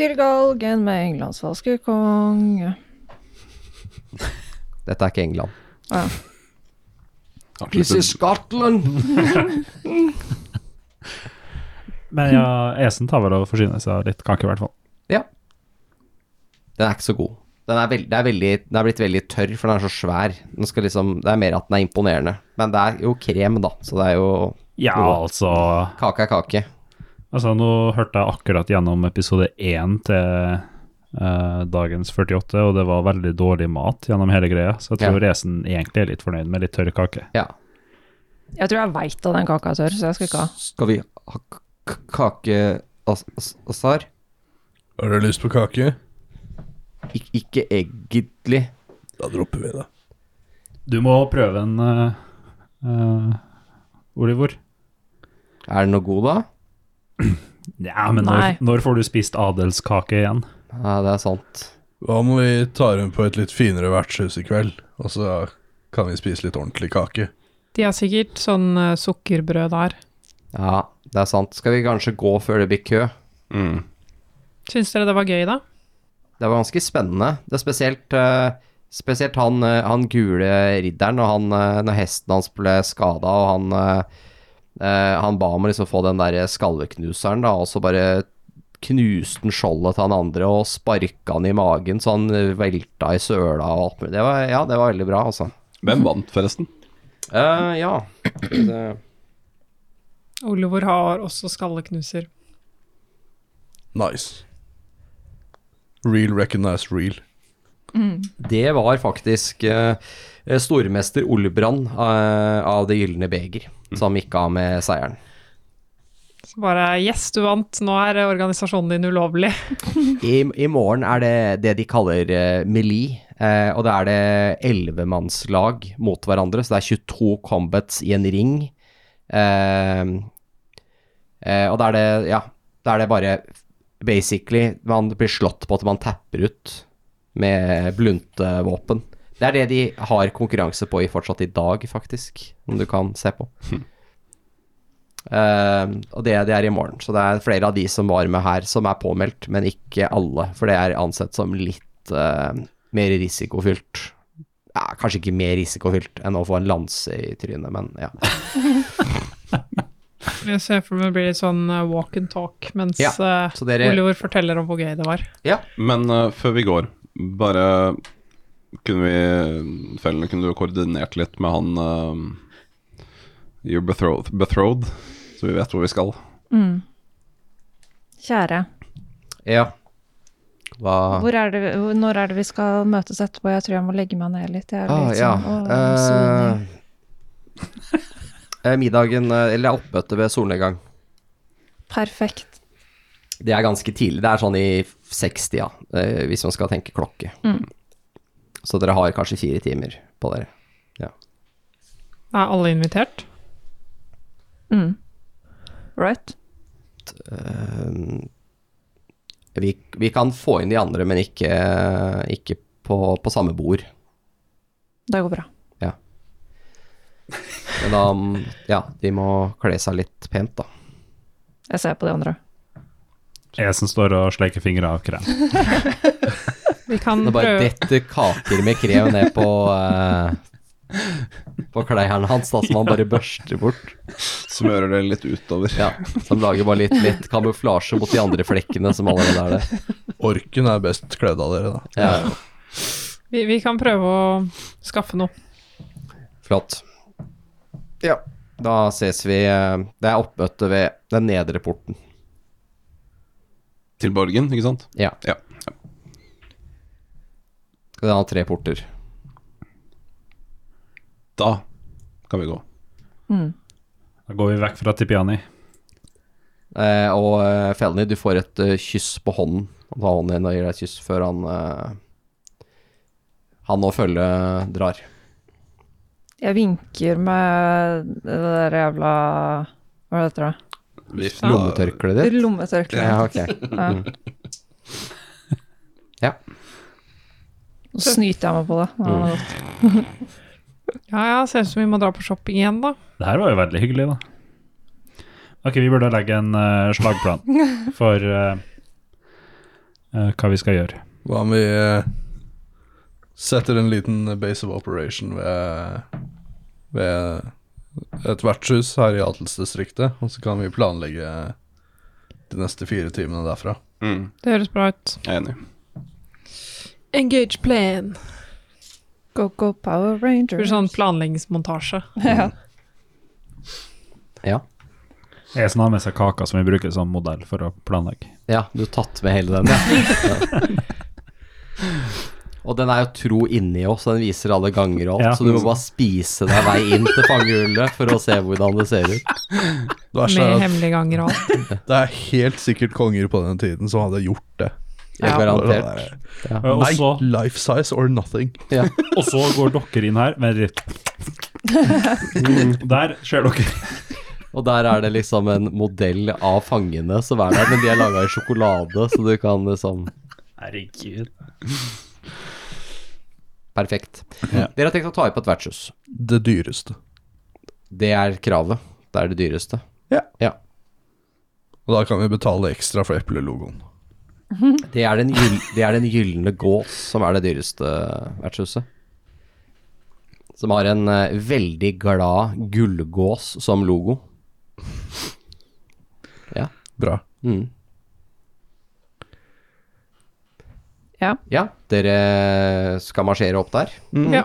Speaker 4: Til galgen med Englands falske konge.
Speaker 3: Dette er ikke England.
Speaker 5: Avsluttet.
Speaker 3: Scotland!
Speaker 8: Men ja, Esen tar vel og forsyner seg av litt kake, i hvert fall.
Speaker 3: Ja. Den er ikke så god. Den er, veld, det er, veldig, den er blitt veldig tørr, for den er så svær. Den skal liksom, det er mer at den er imponerende. Men det er jo krem, da, så det er jo
Speaker 8: Ja,
Speaker 3: Jo.
Speaker 8: altså
Speaker 3: Kake er kake.
Speaker 8: Altså, nå hørte jeg akkurat gjennom episode 1 til eh, dagens 48, og det var veldig dårlig mat gjennom hele greia, så jeg tror Esen egentlig er litt fornøyd med litt tørr kake.
Speaker 3: Ja.
Speaker 4: Jeg tror jeg veit at den kaka er tørr, så jeg skal ikke ha.
Speaker 3: Skal vi ha k- k- kakeasar?
Speaker 6: Har du lyst på kake?
Speaker 3: Ik ikke egentlig.
Speaker 6: Da dropper vi det.
Speaker 8: Du må prøve en eh, eh, Olivor.
Speaker 3: Er den noe god, da?
Speaker 8: Ja, men
Speaker 4: Nei.
Speaker 8: når, når får du spist adelskake igjen?
Speaker 3: Ja, det er sant.
Speaker 6: Hva om vi tar henne på et litt finere vertshus i kveld, og så kan vi spise litt ordentlig kake?
Speaker 7: De har sikkert sånn eh, sukkerbrød der.
Speaker 3: Ja, det er sant. Skal vi kanskje gå før det blir kø?
Speaker 5: Mm.
Speaker 7: Syns dere det var gøy, da?
Speaker 3: Det var ganske spennende. Det er spesielt, eh, spesielt han, eh, han gule ridderen og han, eh, når hesten hans ble skada, og han, eh, eh, han ba om å liksom få den der skalleknuseren, da, og så bare knuste han skjoldet til han andre og sparka han i magen, så han eh, velta i søla og alt mulig. Det var, ja, det var veldig bra, altså.
Speaker 5: Hvem vant, forresten?
Speaker 3: Eh, ja. Det,
Speaker 7: Olivor har også skalleknuser.
Speaker 6: Nice. Real recognize real.
Speaker 3: det var faktisk eh, stormester Olbrand eh, av Det gylne beger som gikk av med seieren.
Speaker 7: Så bare Yes, du vant, nå er organisasjonen din ulovlig. [laughs]
Speaker 3: I, I morgen er det det de kaller uh, melee, eh, og da er det ellevemannslag mot hverandre, så det er 22 combats i en ring. Eh, eh, og da er det, ja, da er det bare basically Man blir slått på at man tapper ut med blunte våpen. Det er det de har konkurranse på i fortsatt i dag, faktisk, om du kan se på. Eh, og det, det er i morgen. Så det er flere av de som var med her, som er påmeldt, men ikke alle. For det er ansett som litt eh, mer risikofylt. Ja, kanskje ikke mer risikofylt enn å få en lanse i trynet, men ja.
Speaker 7: Jeg ser for meg det blir litt sånn eh, walk and talk mens
Speaker 3: Ja,
Speaker 7: eh,
Speaker 3: så dere-
Speaker 7: Oliver forteller om hvor gøy det var.
Speaker 5: Men eh, før vi går, bare kunne vi Fellene, kunne du ha koordinert litt med han eh, Your betrothed, betrothed, så vi vet hvor vi skal.
Speaker 4: Mm. Kjære,
Speaker 3: ja. Hva
Speaker 4: hvor er det, hvor- når er det vi skal møtes etterpå? Jeg tror jeg må legge meg ned litt. Jeg er
Speaker 3: Ah,
Speaker 4: litt
Speaker 3: ja.
Speaker 4: sånn, åh,
Speaker 3: Eh,
Speaker 4: soning.
Speaker 3: [laughs] eh, middagen, eh, eller oppmøtet ved solnedgang.
Speaker 4: Perfekt.
Speaker 3: Det er ganske tidlig. Det er sånn i 60, ja, eh, hvis man skal tenke klokke.
Speaker 4: Mm.
Speaker 3: Så dere har kanskje fire timer på dere.
Speaker 7: Er alle invitert?
Speaker 4: Mm. Right?
Speaker 3: Eh, vi, vi kan få inn de andre, men ikke, ikke på, på samme bord.
Speaker 4: Det går bra.
Speaker 3: Men da, mm, ja, de må kle seg litt pent, da.
Speaker 4: Jeg ser på de andre.
Speaker 8: Jeg som står og sleker fingre av krem.
Speaker 7: Vi kan
Speaker 3: Det bare
Speaker 7: prøve
Speaker 3: detter kaker med krem ned på eh, på klærne hans, da, som han bare børster bort.
Speaker 5: Smører det litt utover.
Speaker 3: Ja, Som lager bare litt, litt kamuflasje mot de andre flekkene som allerede er der.
Speaker 6: Orken er best kledd av dere, da.
Speaker 3: Ja,
Speaker 7: vi, vi kan prøve å skaffe noe.
Speaker 3: flott. Ja. Da ses vi eh, Det er oppmøte ved den nedre porten.
Speaker 5: Til Borgen, ikke sant?
Speaker 3: Ja.
Speaker 5: Ja.
Speaker 3: Den har tre porter.
Speaker 5: Da kan vi gå.
Speaker 8: Da går vi vekk fra Tipiani.
Speaker 3: Eh, og eh, Felny, du får et eh, kyss på hånden. Han tar hånden din og gir deg et kyss før han eh, Han og følget drar.
Speaker 4: Jeg vinker med det der jævla Hva heter det?
Speaker 5: Vift.
Speaker 3: Lommetørkleet ditt?
Speaker 4: Lommetørkle.
Speaker 3: Ja, ok.
Speaker 4: Ja.
Speaker 3: Ja.
Speaker 4: Nå snyter jeg meg på det. Ja, det var godt.
Speaker 7: Ja, ja, ser ut som vi må dra på shopping igjen, da.
Speaker 8: Det her var jo veldig hyggelig, da. Ok, vi burde legge en eh, slagplan for eh, eh, hva vi skal gjøre.
Speaker 6: Hva om vi eh, setter en liten base of operation ved, ved et vertshus her i Atelsdistriktet, og så kan vi planlegge de neste fire timene derfra.
Speaker 5: Mm,
Speaker 7: Det høres bra ut.
Speaker 5: jeg er enig.
Speaker 7: Engage plan.
Speaker 4: Go, go, Power
Speaker 7: Det blir
Speaker 4: Rangers.
Speaker 7: sånn planleggingsmontasje.
Speaker 3: ja.
Speaker 8: Jeg som har med seg kaka som vi bruker som modell for å planlegge.
Speaker 3: Ja, du har tatt med hele den, ja. Og den er jo tro inni oss, den viser alle ganger og alt,
Speaker 8: Ja.
Speaker 3: så du må bare spise deg vei inn til fangehullet for å se hvordan det ser ut.
Speaker 6: Det verste
Speaker 7: Med
Speaker 6: er at
Speaker 7: hemmelige ganger og alt.
Speaker 6: det er helt sikkert konger på den tiden som hadde gjort det.
Speaker 3: Ja. Garantert.
Speaker 8: Eh, Og
Speaker 6: Nei,
Speaker 8: så-
Speaker 6: life size or nothing.
Speaker 3: Ja.
Speaker 8: og så går dere inn her med litt Mm, Der ser dere
Speaker 3: Og der er det liksom en modell av fangene som er der, men de er laga i sjokolade, så du kan liksom
Speaker 8: Herregud.
Speaker 3: Perfekt. Dere har tenkt å ta i på et vertshus.
Speaker 6: Det dyreste.
Speaker 3: Det er kravet. Det er det dyreste.
Speaker 6: Og da kan vi betale ekstra for eplelogoen.
Speaker 3: Det er den, gyll, det er den gylne gås som er det dyreste vertshuset. Som har en eh, veldig glad gullgås som logo.
Speaker 6: Bra.
Speaker 3: Mm.
Speaker 4: Ja.
Speaker 3: Ja, dere skal marsjere opp der.
Speaker 7: Ja.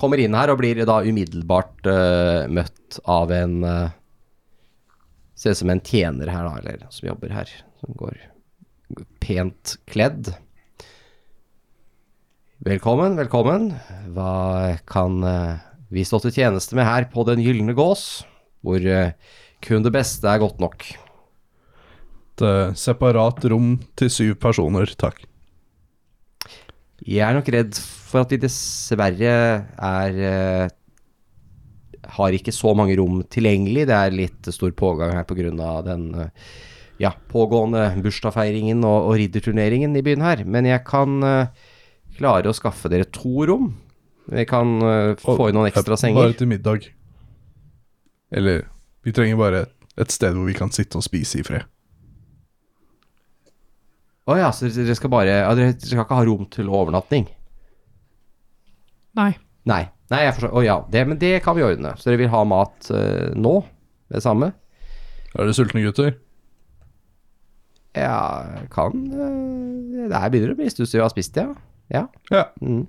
Speaker 3: Kommer inn her og blir da umiddelbart eh, møtt av en eh, Ser ut som en tjener her, da, eller som jobber her. Som går pent kledd. Velkommen, velkommen. Hva kan eh, vi stå til tjeneste med her på Den gylne gås? Hvor eh, kun det beste er godt nok.
Speaker 6: Et eh, separat rom til syv personer, takk.
Speaker 3: Jeg er nok redd for at vi dessverre er eh, Har ikke så mange rom tilgjengelig. Det er litt stor pågang her pga. På den eh, ja, pågående bursdagsfeiringen og, og ridderturneringen i byen her. Men jeg kan eh, klare å skaffe dere to rom. Vi kan eh, få inn noen
Speaker 6: Og,
Speaker 3: ekstra
Speaker 6: eh, Bare
Speaker 3: senger.
Speaker 6: til middag. Eller vi trenger bare et sted hvor vi kan sitte og spise i fred.
Speaker 3: Å ja, så dere skal bare ja, Dere skal ikke ha rom til overnatting?
Speaker 7: Nei.
Speaker 3: Nei. Nei, jeg forstår. Å ja, det, men det kan vi ordne. Så dere vil ha mat eh, nå? Med det samme?
Speaker 6: Er dere sultne, gutter?
Speaker 3: Ja, kan eh, Det her begynner å bli en stund siden vi har spist, ja. Ja.
Speaker 6: Ja.
Speaker 3: Mm.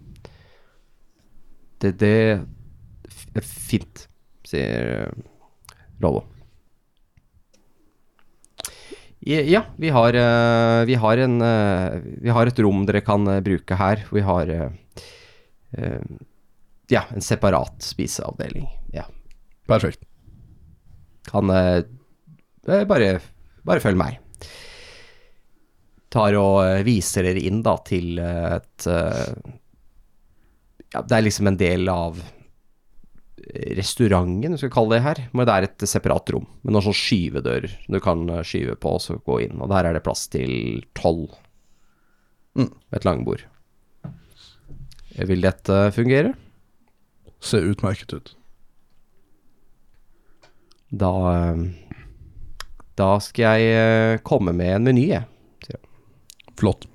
Speaker 3: Det, det f- Fint, sier eh, Rollo. Ja, vi har, eh, vi, har en, eh, vi har et rom dere kan eh, bruke her. Vi har eh, eh, ja, en separat spiseavdeling. Ja.
Speaker 6: Perfekt.
Speaker 3: Kan eh, eh, bare, bare følg meg. Tar og eh, viser dere inn da til eh, et eh, Ja, det er liksom en del av restauranten, skal vi kalle det her. Men det er et separat rom med noen sånn skyvedør du kan eh, skyve på og så gå inn. Og der er det plass til tolv. Med et langbord. Eh, Vil dette fungere?
Speaker 6: Ser utmerket ut.
Speaker 3: Da eh, Da skal jeg eh, komme med en meny, jeg.
Speaker 6: Flott.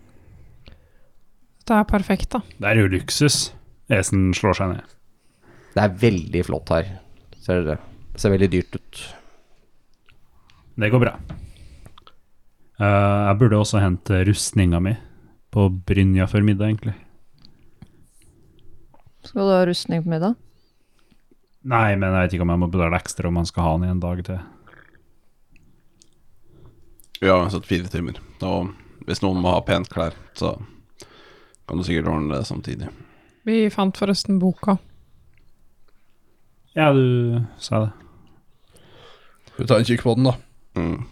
Speaker 7: Det er perfekt, da.
Speaker 8: Det er jo luksus. Esen slår seg ned.
Speaker 3: Det er veldig flott her. Ser dere? Det ser veldig dyrt ut.
Speaker 8: Det går bra. Eh, jeg burde også hente rustninga mi på Brynja før middag, egentlig.
Speaker 4: Skal du ha rustning på middag?
Speaker 8: Nei, men jeg vet ikke om jeg må betale ekstra om man skal ha den i en dag til.
Speaker 5: Vi har satt fire timer. Og hvis noen må ha pent klær, så kan du sikkert ordne det samtidig.
Speaker 7: Vi fant forresten boka.
Speaker 8: Ja, du sa det.
Speaker 6: Vi tar en kikk på den, da.
Speaker 5: Mm.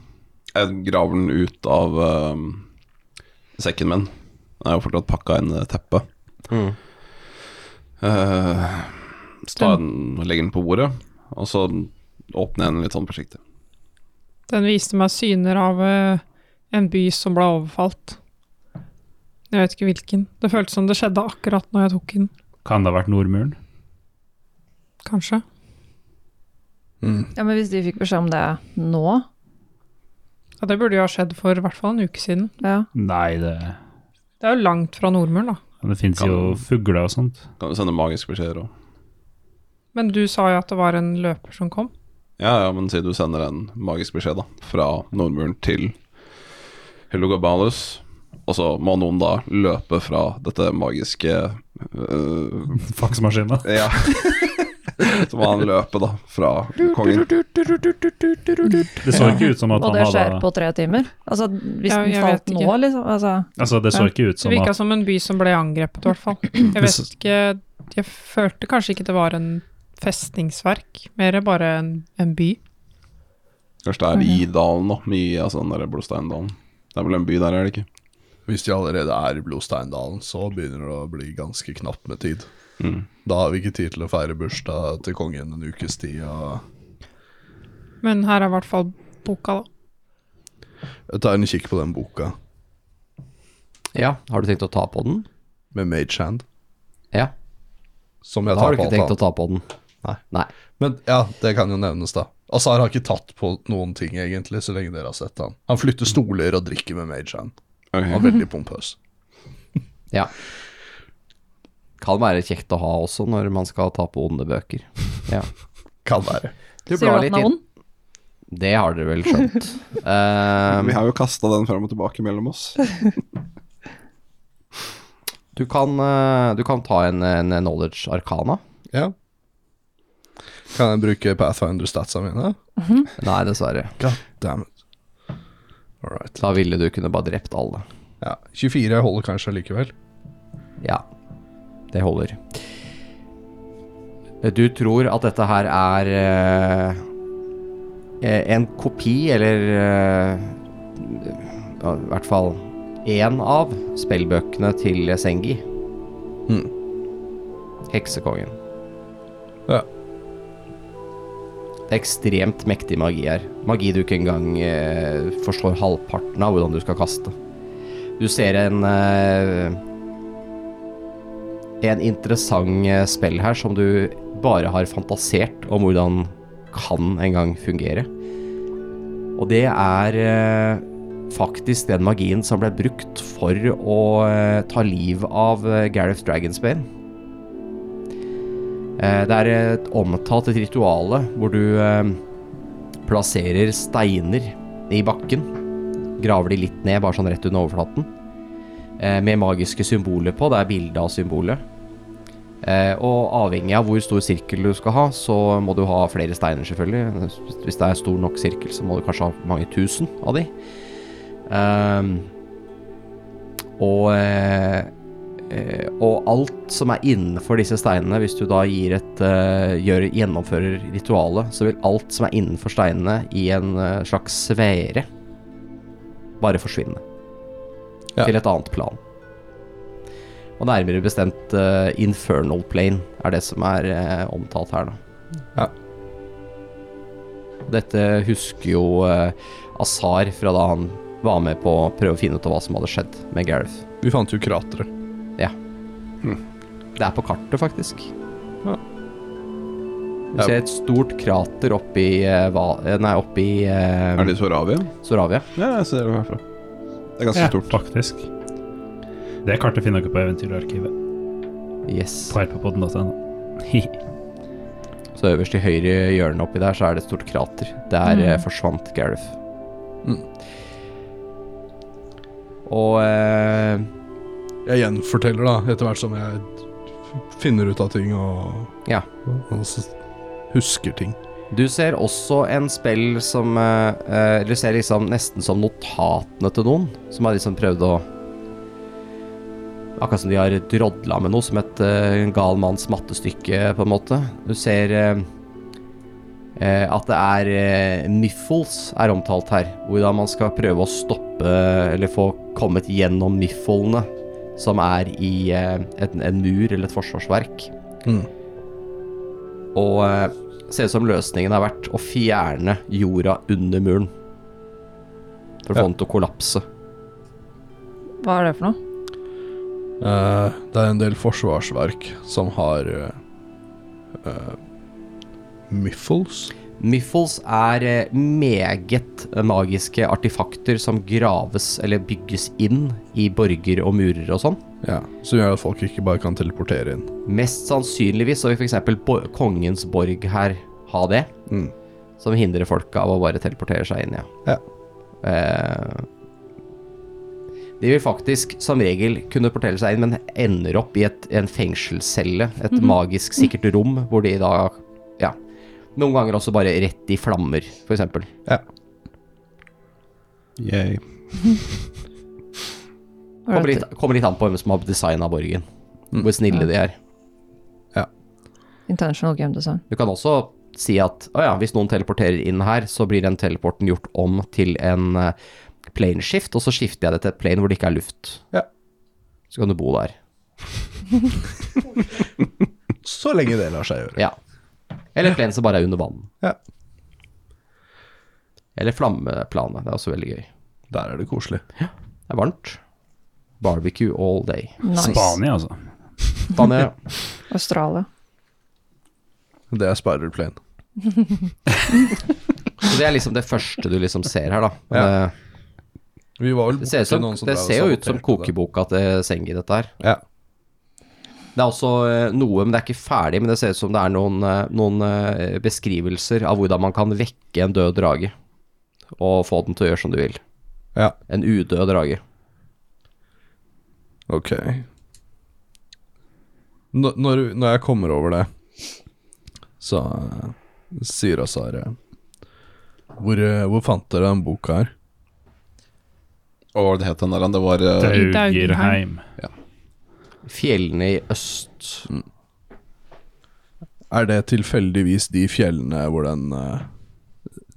Speaker 5: Jeg graver den ut av eh, sekken min. Den er jo fortsatt pakka inn i teppet. Eh, så tar jeg den og legger den på bordet, og så åpner jeg den litt sånn forsiktig.
Speaker 7: Den viste meg syner av eh, en by som ble overfalt. Jeg vet ikke hvilken. Det føltes som det skjedde akkurat når jeg tok den,
Speaker 8: Kan det ha vært Nordmuren?
Speaker 7: kanskje.
Speaker 4: Ja, men hvis de fikk beskjed om det nå,
Speaker 7: Ja, det burde jo ha skjedd for i hvert fall en uke siden.
Speaker 4: ja.
Speaker 8: Nei, det,
Speaker 7: Det er jo langt fra Nordmuren, da.
Speaker 8: det fins
Speaker 5: Kan-
Speaker 8: jo fugler og sånt.
Speaker 5: Kan du sende magiske beskjeder òg?
Speaker 7: Men du sa jo at det var en løper som kom.
Speaker 5: Ja, ja, men si du sender en magisk beskjed, da. Fra Nordmuren til Helogabalus. Og så må noen da løpe fra dette magiske øh,
Speaker 8: [laughs] Faksmaskina.
Speaker 5: Ja. [laughs] Så må han løpe, da, fra kongen.
Speaker 8: Det så ikke ut som at
Speaker 4: og
Speaker 8: han
Speaker 4: det skjer
Speaker 8: hadde
Speaker 4: på tre timer? Altså, hvis
Speaker 7: Ja,
Speaker 4: den
Speaker 7: jeg
Speaker 4: falt
Speaker 7: vet
Speaker 4: nå,
Speaker 7: ikke.
Speaker 4: liksom? Altså,
Speaker 8: Altså, det så
Speaker 7: Ja.
Speaker 8: ikke ut
Speaker 7: Det
Speaker 8: som
Speaker 7: virka
Speaker 8: at
Speaker 7: som en by som ble angrepet, i hvert
Speaker 8: [clears throat]
Speaker 7: fall. Jeg
Speaker 8: Det s-
Speaker 7: vet ikke Jeg følte kanskje ikke det var en festningsverk, mer bare en, en by.
Speaker 5: Kanskje det er i dalen, da. I altså, den der Blodsteindalen. Det er vel en by der, er det ikke?
Speaker 6: Hvis de allerede er i Blodsteindalen, så begynner det å bli ganske knapt med tid. Da har vi ikke tid til å feire bursdag til kongen en ukes tid. Og
Speaker 7: Men her er i hvert fall boka, da.
Speaker 6: jeg tar en kikk på den boka
Speaker 3: Ja. Har du tenkt å ta på den?
Speaker 6: med Mage Hand,
Speaker 3: Ja.
Speaker 6: som jeg
Speaker 3: Da har du
Speaker 6: tar på
Speaker 3: ikke
Speaker 6: alt
Speaker 3: tenkt å
Speaker 6: annet.
Speaker 3: ta på den?
Speaker 6: Nei.
Speaker 3: Nei.
Speaker 6: Men ja, det kan jo nevnes, da. Azar har ikke tatt på noen ting, egentlig, så lenge dere har sett han. Han flytter stoler og drikker med Mage Hand. Han er veldig pompøs.
Speaker 3: Ja. Kan være kjekt å ha også når man skal ta på onde bøker. [laughs] Ja.
Speaker 6: Kan være.
Speaker 3: Du
Speaker 4: sier du at den er ond?
Speaker 3: Det har dere vel skjønt. Ehm,
Speaker 5: Vi har jo kasta den fram og tilbake mellom oss.
Speaker 3: du, kan, eh, du kan ta en, en knowledge arcana.
Speaker 6: Ja. Kan jeg bruke Pathfinder-statsa mine?
Speaker 3: Nei, dessverre.
Speaker 6: God damn it. All right.
Speaker 3: Da ville du kunne bare drept alle.
Speaker 6: Ja, 24 holder kanskje likevel.
Speaker 3: Ja, det holder. Du tror at dette her er eh, en kopi, eller eh, ja, i hvert fall én av spillbøkene til Sengi.
Speaker 6: Mm.
Speaker 3: Heksekongen.
Speaker 6: Ja.
Speaker 3: Det er ekstremt mektig magi her. Magi du ikke engang eh, forstår halvparten av hvordan du skal kaste. Du ser en eh, en interessant eh, spell her som du bare har fantasert om hvordan kan engang fungere. Og det er eh, faktisk den magien som ble brukt for å eh, ta liv av eh, Gareth Dragonsbane. Eh, det er et omtalt et rituale hvor du eh, plasserer steiner i bakken. Graver de litt ned, bare sånn rett under overflaten. Eh, med magiske symboler på. Det er bilde av symbolet. Eh, og avhengig av hvor stor sirkel du skal ha, så må du ha flere steiner, selvfølgelig. Hvis det er stor nok sirkel, så må du kanskje ha mange tusen av de. Ehm, og eh, eh, og alt som er innenfor disse steinene, hvis du da gir et eh, gjør, gjennomfører ritualet, så vil alt som er innenfor steinene i en eh, slags sfære, bare forsvinne.
Speaker 6: Ja.
Speaker 3: Til et annet plan. Og nærmere bestemt eh, Infernal Plane er det som er eh, omtalt her, da.
Speaker 6: Ja.
Speaker 3: Dette husker jo eh, Azar fra da han var med på å prøve å finne ut av hva som hadde skjedd med Gareth.
Speaker 6: Vi fant jo krateret.
Speaker 3: Det er på kartet, faktisk.
Speaker 6: Ja.
Speaker 3: Du ser et stort krater oppi eh, hva- eh, Nei, oppi eh,
Speaker 5: Er det i Soravia?
Speaker 3: Soravia.
Speaker 5: Ja, jeg ser det herfra. Det er ganske
Speaker 8: Ja,
Speaker 5: stort.
Speaker 8: faktisk. Det kartet finner dere på Eventyrarkivet
Speaker 3: Yes.
Speaker 8: på rppodden.no.
Speaker 3: Så øverst i høyre hjørne oppi der, så er det et stort krater. Der eh, forsvant Gareth. Og eh,
Speaker 6: Jeg gjenforteller, da, etter hvert som jeg finner ut av ting og,
Speaker 3: Ja.
Speaker 6: og s- husker ting.
Speaker 3: Du ser også en spill som eh, eh, Du ser liksom nesten som notatene til noen, som har liksom prøvd å Akkurat som de har drodla med noe, som et eh, en gal manns mattestykke, på en måte. Du ser eh, eh, at det er eh, Miffles er omtalt her. Hvordan man skal prøve å stoppe eller få kommet gjennom Mifflene, som er i eh, et, en mur eller et forsvarsverk.
Speaker 6: Mm.
Speaker 3: Og eh, ser ut som løsningen har vært å fjerne jorda under muren. For å få den til å kollapse.
Speaker 4: Hva er det for noe?
Speaker 6: Eh, det er en del forsvarsverk som har eh, eh, Miffles.
Speaker 3: Miffles er eh, meget magiske artefakter som graves eller bygges inn i borger og murer og sånn.
Speaker 6: Ja, som gjør at folk ikke bare kan teleportere inn.
Speaker 3: Mest sannsynligvis så vil f.eks. Bo kongens borg her ha det.
Speaker 6: Mm.
Speaker 3: Som hindrer folk av å bare teleportere seg inn, ja.
Speaker 6: Ja.
Speaker 3: Eh, de vil faktisk som regel kunne portere seg inn, men ender opp i et, en fengselscelle. Et magisk sikkert rom hvor de da Ja. Noen ganger også bare rett i flammer, f.eks.
Speaker 5: Yay.
Speaker 4: Hva
Speaker 3: Kommer
Speaker 4: er
Speaker 3: litt,
Speaker 4: dette?
Speaker 3: kommer litt an på hvem som har designa borgen.
Speaker 6: Mm.
Speaker 3: Hvor snille de er.
Speaker 4: Intentional game design.
Speaker 3: Du kan også si at å ja, hvis noen teleporterer inn her, så blir den teleporten gjort om til en eh, plane shift, og så skifter jeg det til et plane hvor det ikke er luft.
Speaker 6: Ja.
Speaker 3: Så kan du bo der.
Speaker 6: Så lenge det lar seg gjøre.
Speaker 3: Ja. Eller et plane som bare er under vann.
Speaker 6: Ja.
Speaker 3: Eller flammeplanet. Det er også veldig gøy.
Speaker 6: Der er det koselig.
Speaker 3: Det er varmt. Barbecue all day.
Speaker 4: Nice.
Speaker 8: Spania, altså.
Speaker 3: Spania.
Speaker 4: Australia.
Speaker 6: Det er Spider Plane.
Speaker 3: Så det er liksom det første du liksom ser her, da. Men,
Speaker 6: Ja.
Speaker 3: eh,
Speaker 6: Vi var vel
Speaker 3: Det ser, ut som,
Speaker 6: noen som
Speaker 3: det
Speaker 6: drev og
Speaker 3: ser jo ut som
Speaker 6: saboterte det.
Speaker 3: kokeboka til Sengi, dette her.
Speaker 6: Ja.
Speaker 3: Det er også eh, noe, men det er ikke ferdig, men det ser ut som det er noen, eh, noen eh, beskrivelser av hvordan man kan vekke en død drage, og få den til å gjøre som du vil.
Speaker 6: Ja.
Speaker 3: En udød drage.
Speaker 6: Ok. Når, når, når jeg kommer over det, så eh, sier Azar hvor, eh, hvor fant dere den boka her?
Speaker 5: Og hva var det het den der? Det var eh,
Speaker 7: I Daugenheim.
Speaker 8: Daugerheim.
Speaker 3: Fjellene i øst.
Speaker 6: Er det tilfeldigvis de fjellene hvor den eh,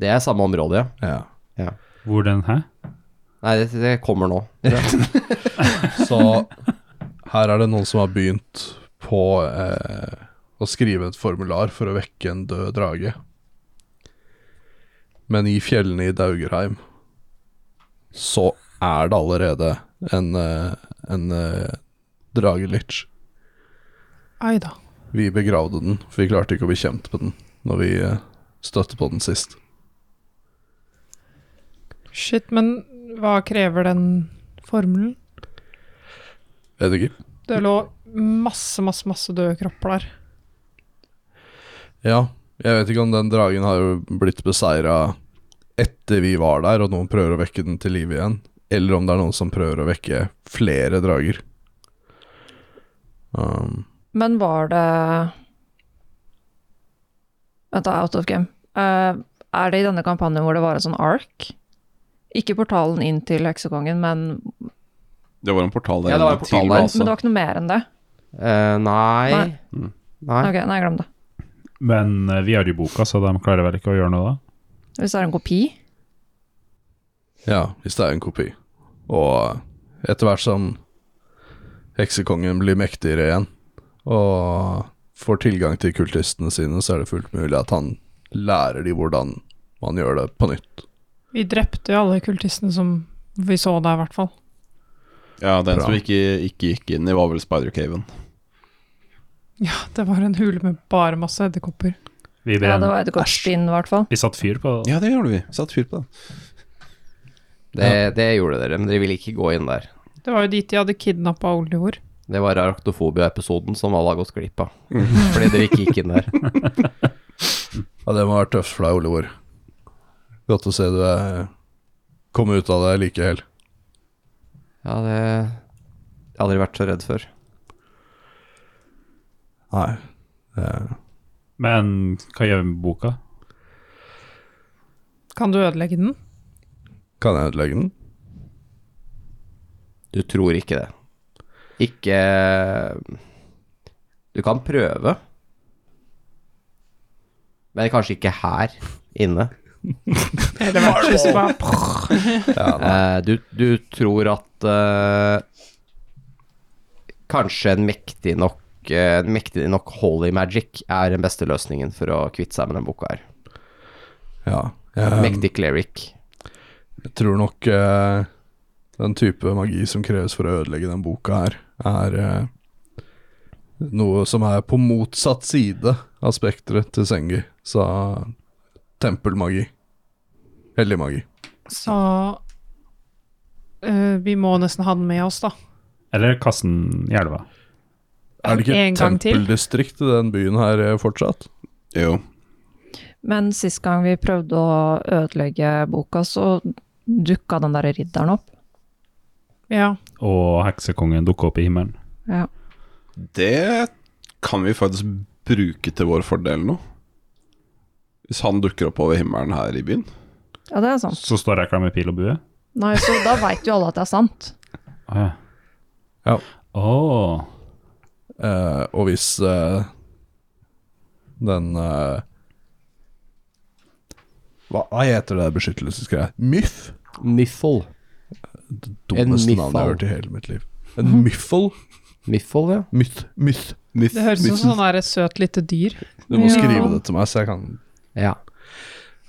Speaker 3: Det er samme område, ja.
Speaker 6: Ja.
Speaker 8: Hvor den hæ?
Speaker 3: Nei, det, det kommer nå.
Speaker 6: Så her er det noen som har begynt på eh, å skrive et formular for å vekke en død drage. Men i fjellene i Daugerheim så er det allerede en, eh, en eh, dragelich.
Speaker 7: Ai da.
Speaker 6: Vi begravde den, for vi klarte ikke å bli kjent med den når vi eh, støtte på den sist.
Speaker 7: Shit, men hva krever den formelen?
Speaker 6: Vet ikke.
Speaker 7: Det lå masse, masse, masse døde kropper der.
Speaker 6: Ja, jeg vet ikke om den dragen har jo blitt beseira etter vi var der, og noen prøver å vekke den til liv igjen. Eller om det er noen som prøver å vekke flere drager. Um,
Speaker 4: Men var det Vent, da, out of game. Eh, er det i denne kampanjen hvor det var en sånn ark? Ikke portalen inn til heksekongen, men,
Speaker 5: Det var en portal altså. der.
Speaker 3: Ja, det var en
Speaker 5: inne
Speaker 3: portal der.
Speaker 5: til base.
Speaker 4: men det var ikke noe mer enn det?
Speaker 3: Eh, nei.
Speaker 4: Nei.
Speaker 5: Mm.
Speaker 3: Nei.
Speaker 4: Ok, nei, glem det.
Speaker 8: Men eh, vi har jo boka, så de klarer vel ikke å gjøre noe da?
Speaker 4: Hvis det er en kopi?
Speaker 6: ja, hvis det er en kopi. Og etter hvert som heksekongen blir mektigere igjen og får tilgang til kultistene sine, så er det fullt mulig at han lærer de hvordan man gjør det på nytt.
Speaker 7: Vi drepte jo alle kultistene som vi så der, i hvert fall.
Speaker 5: Ja, den
Speaker 6: Bra.
Speaker 5: som ikke, ikke gikk inn i, var vel Spider-Caven.
Speaker 7: Ja, det var en hule med bare masse edderkopper.
Speaker 8: Vi, ble,
Speaker 4: Ja, det var edderkoppstinn, i hvert fall.
Speaker 8: vi satt fyr på det.
Speaker 5: Ja, det gjorde vi. Satt fyr på det.
Speaker 3: Det, det gjorde dere, men dere ville ikke gå inn der.
Speaker 7: Det var jo dit de hadde kidnappa Oliver.
Speaker 3: Det var arachnophobia-episoden som alle har gått glipp av. Fordi dere ikke gikk inn der.
Speaker 6: Ja, det må være tøft for deg, Oliver. Godt å se du er komme ut av det like hel.
Speaker 3: Ja, det Jeg har aldri vært så redd før.
Speaker 6: Nei. Eh,
Speaker 8: Men hva gjør vi med boka?
Speaker 7: Kan du ødelegge den?
Speaker 6: Kan jeg ødelegge den?
Speaker 3: Du tror ikke det. Ikke Du kan prøve. Men kanskje ikke her [laughs] inne.
Speaker 7: Eller hvert hvis du bare prrr.
Speaker 3: Eh, du, du tror at eh, kanskje en mektig nok eh, en mektig nok holy magic er den beste løsningen for å kvitte seg med den boka her.
Speaker 6: Ja. Jeg, eh,
Speaker 3: Mektig cleric.
Speaker 6: jeg tror nok eh, den type magi som kreves for å ødelegge den boka her, er eh, noe som er på motsatt side av spekteret til Sengi. Så tempelmagi. Hellig magi.
Speaker 7: Så eh, vi må nesten ha den med oss, da.
Speaker 8: Eller kassen i elva?
Speaker 6: Er det ikke
Speaker 7: En
Speaker 6: et
Speaker 7: gang til.
Speaker 6: tempeldistrikt i den byen her eh, fortsatt?
Speaker 5: Jo.
Speaker 4: Men sist gang vi prøvde å ødelegge boka, så dukka den der ridderen opp.
Speaker 7: Ja.
Speaker 8: Og heksekongen dukker opp i himmelen?
Speaker 4: Ja.
Speaker 5: Det kan vi faktisk bruke til vår fordel nå. Hvis han dukker opp over himmelen her i byen.
Speaker 4: ja, det er sant.
Speaker 8: Så står jeg klar med pil og bue?
Speaker 4: Nei, så da veit jo alle at det er sant.
Speaker 8: Å ja.
Speaker 6: Ja.
Speaker 8: Å.
Speaker 6: Eh, og hvis eh, den eh, hva, hva heter det der beskyttelsesgreia? Myff?
Speaker 3: Miffle.
Speaker 6: Det dummeste
Speaker 3: myffal.
Speaker 6: navnet jeg har hørt i hele mitt liv. En myffel?
Speaker 3: Miffle, ja.
Speaker 6: Myth, myth.
Speaker 5: Myth,
Speaker 7: Det høres ut
Speaker 5: myth-
Speaker 7: som sånn der søt lite dyr.
Speaker 6: Du må
Speaker 7: Ja.
Speaker 6: skrive det til meg, så jeg kan
Speaker 3: ja.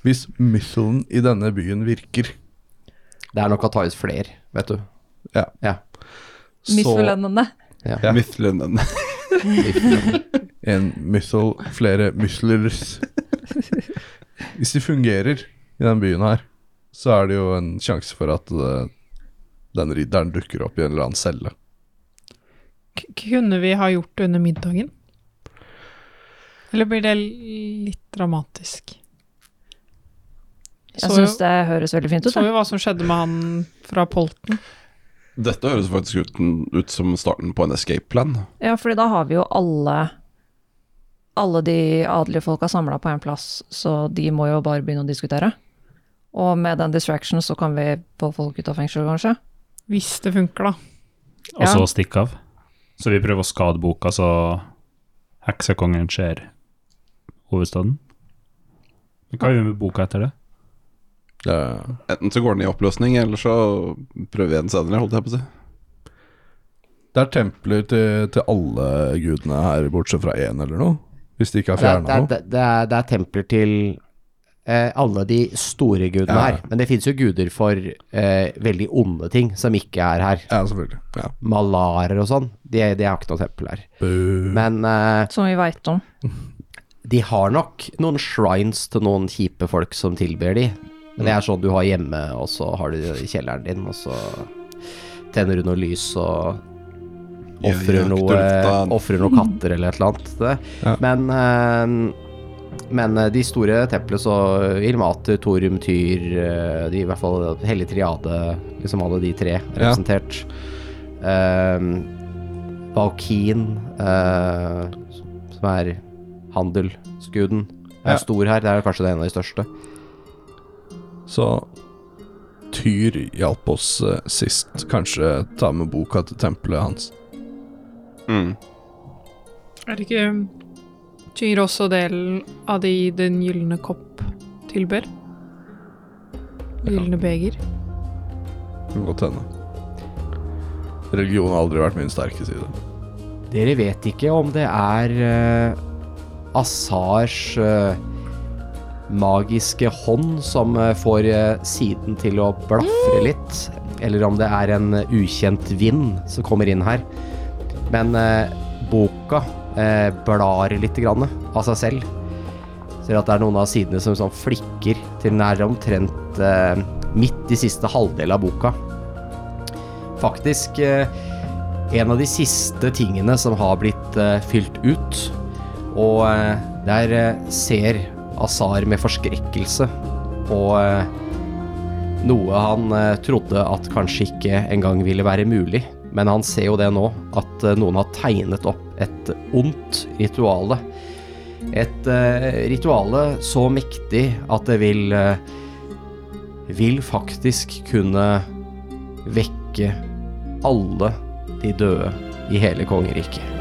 Speaker 6: Hvis myffelen i denne byen virker,
Speaker 3: Det er nok å ta ut flere, vet du.
Speaker 6: så
Speaker 4: Misforlendende.
Speaker 6: Ja.
Speaker 5: mythlen-
Speaker 6: en myffel, flere myflers Hvis de fungerer i den byen her, så er det jo en sjanse for at eh, den ridderen dukker opp i en eller annen celle.
Speaker 7: K kunne vi ha gjort det under middagen? Eller blir det litt dramatisk?
Speaker 4: Jeg
Speaker 7: Så
Speaker 4: syns
Speaker 7: jo-
Speaker 4: det høres veldig fint ut.
Speaker 7: Så
Speaker 4: da.
Speaker 7: jo hva som skjedde med han fra Polten.
Speaker 5: Dette høres faktisk ut, ut som starten på en escape plan.
Speaker 4: Ja, fordi da har vi jo alle alle de adelige folka samla på en plass, så de må jo bare begynne å diskutere. Og med den distraction så kan vi få folk ut av fengsel, kanskje.
Speaker 7: Hvis det funker, da.
Speaker 8: Og så
Speaker 4: Ja.
Speaker 8: stikke av. Så vi prøver å skade boka, så heksekongen ser hovedstaden. Men hva gjør vi med boka etter det?
Speaker 6: Eh,
Speaker 5: Enten så går den i oppløsning, eller så prøver vi igjen senere, holdt jeg på å si.
Speaker 6: Det er templer til, til alle gudene her, bortsett fra én eller noe. Hvis de ikke har
Speaker 3: Det er, det,
Speaker 6: fjerna
Speaker 3: er,
Speaker 6: noe.
Speaker 3: det, er, det er templer til eh, alle de store gudene
Speaker 6: Ja.
Speaker 3: her. Men det fins jo guder for eh, veldig onde ting som ikke er her.
Speaker 6: Ja, selvfølgelig. Ja.
Speaker 3: Malarer og sånn, de, de har ikke noe tempel her. Men eh,
Speaker 4: Som vi veit om.
Speaker 3: De har nok noen shrines til noen kjipe folk som tilber de. Men det er sånn du har hjemme, og så har du det i kjelleren din, og så tenner du noe lys og
Speaker 5: Jeg
Speaker 3: ofrer
Speaker 5: jakter
Speaker 3: noe, eh,
Speaker 5: etter-
Speaker 3: offrer noen katter eller et eller annet. til det.
Speaker 6: Ja.
Speaker 3: Men, eh, men eh, de store templene, så Ilmater, Torum, Tyr, eh, de, i hvert fall Hellig Triade, liksom alle de tre
Speaker 6: Ja.
Speaker 3: representert. Eh, Valkyn, eh, som er handelskuden. Er
Speaker 6: Ja.
Speaker 3: stor her, det er kanskje det en av de største.
Speaker 6: Så Tyr hjalp oss eh, sist. Kanskje ta med boka til tempelet hans.
Speaker 5: Mm.
Speaker 7: Er det ikke Tyr også delen av de Den gylne kopp tilber? Gylne beger?
Speaker 6: Kan godt hende. Religion har aldri vært min sterke side.
Speaker 3: Dere vet ikke om det er uh, Asars eh, magiske hånd som eh, får eh, siden til å blafre litt, eller om det er en eh, ukjent vind som kommer inn her. Men eh, boka eh, blar litt grann av seg selv. Ser at det er noen av sidene som sånn flikker til den er omtrent eh, midt i siste halvdel av boka. Faktisk eh, en av de siste tingene som har blitt eh, fylt ut. Og eh, der eh, ser Azar med forskrekkelse på eh, noe han eh, trodde at kanskje ikke engang ville være mulig. Men han ser jo det nå, at eh, noen har tegnet opp et ondt rituale. Et eh, rituale så mektig at det vil eh, Vil faktisk kunne vekke alle de døde i hele kongeriket.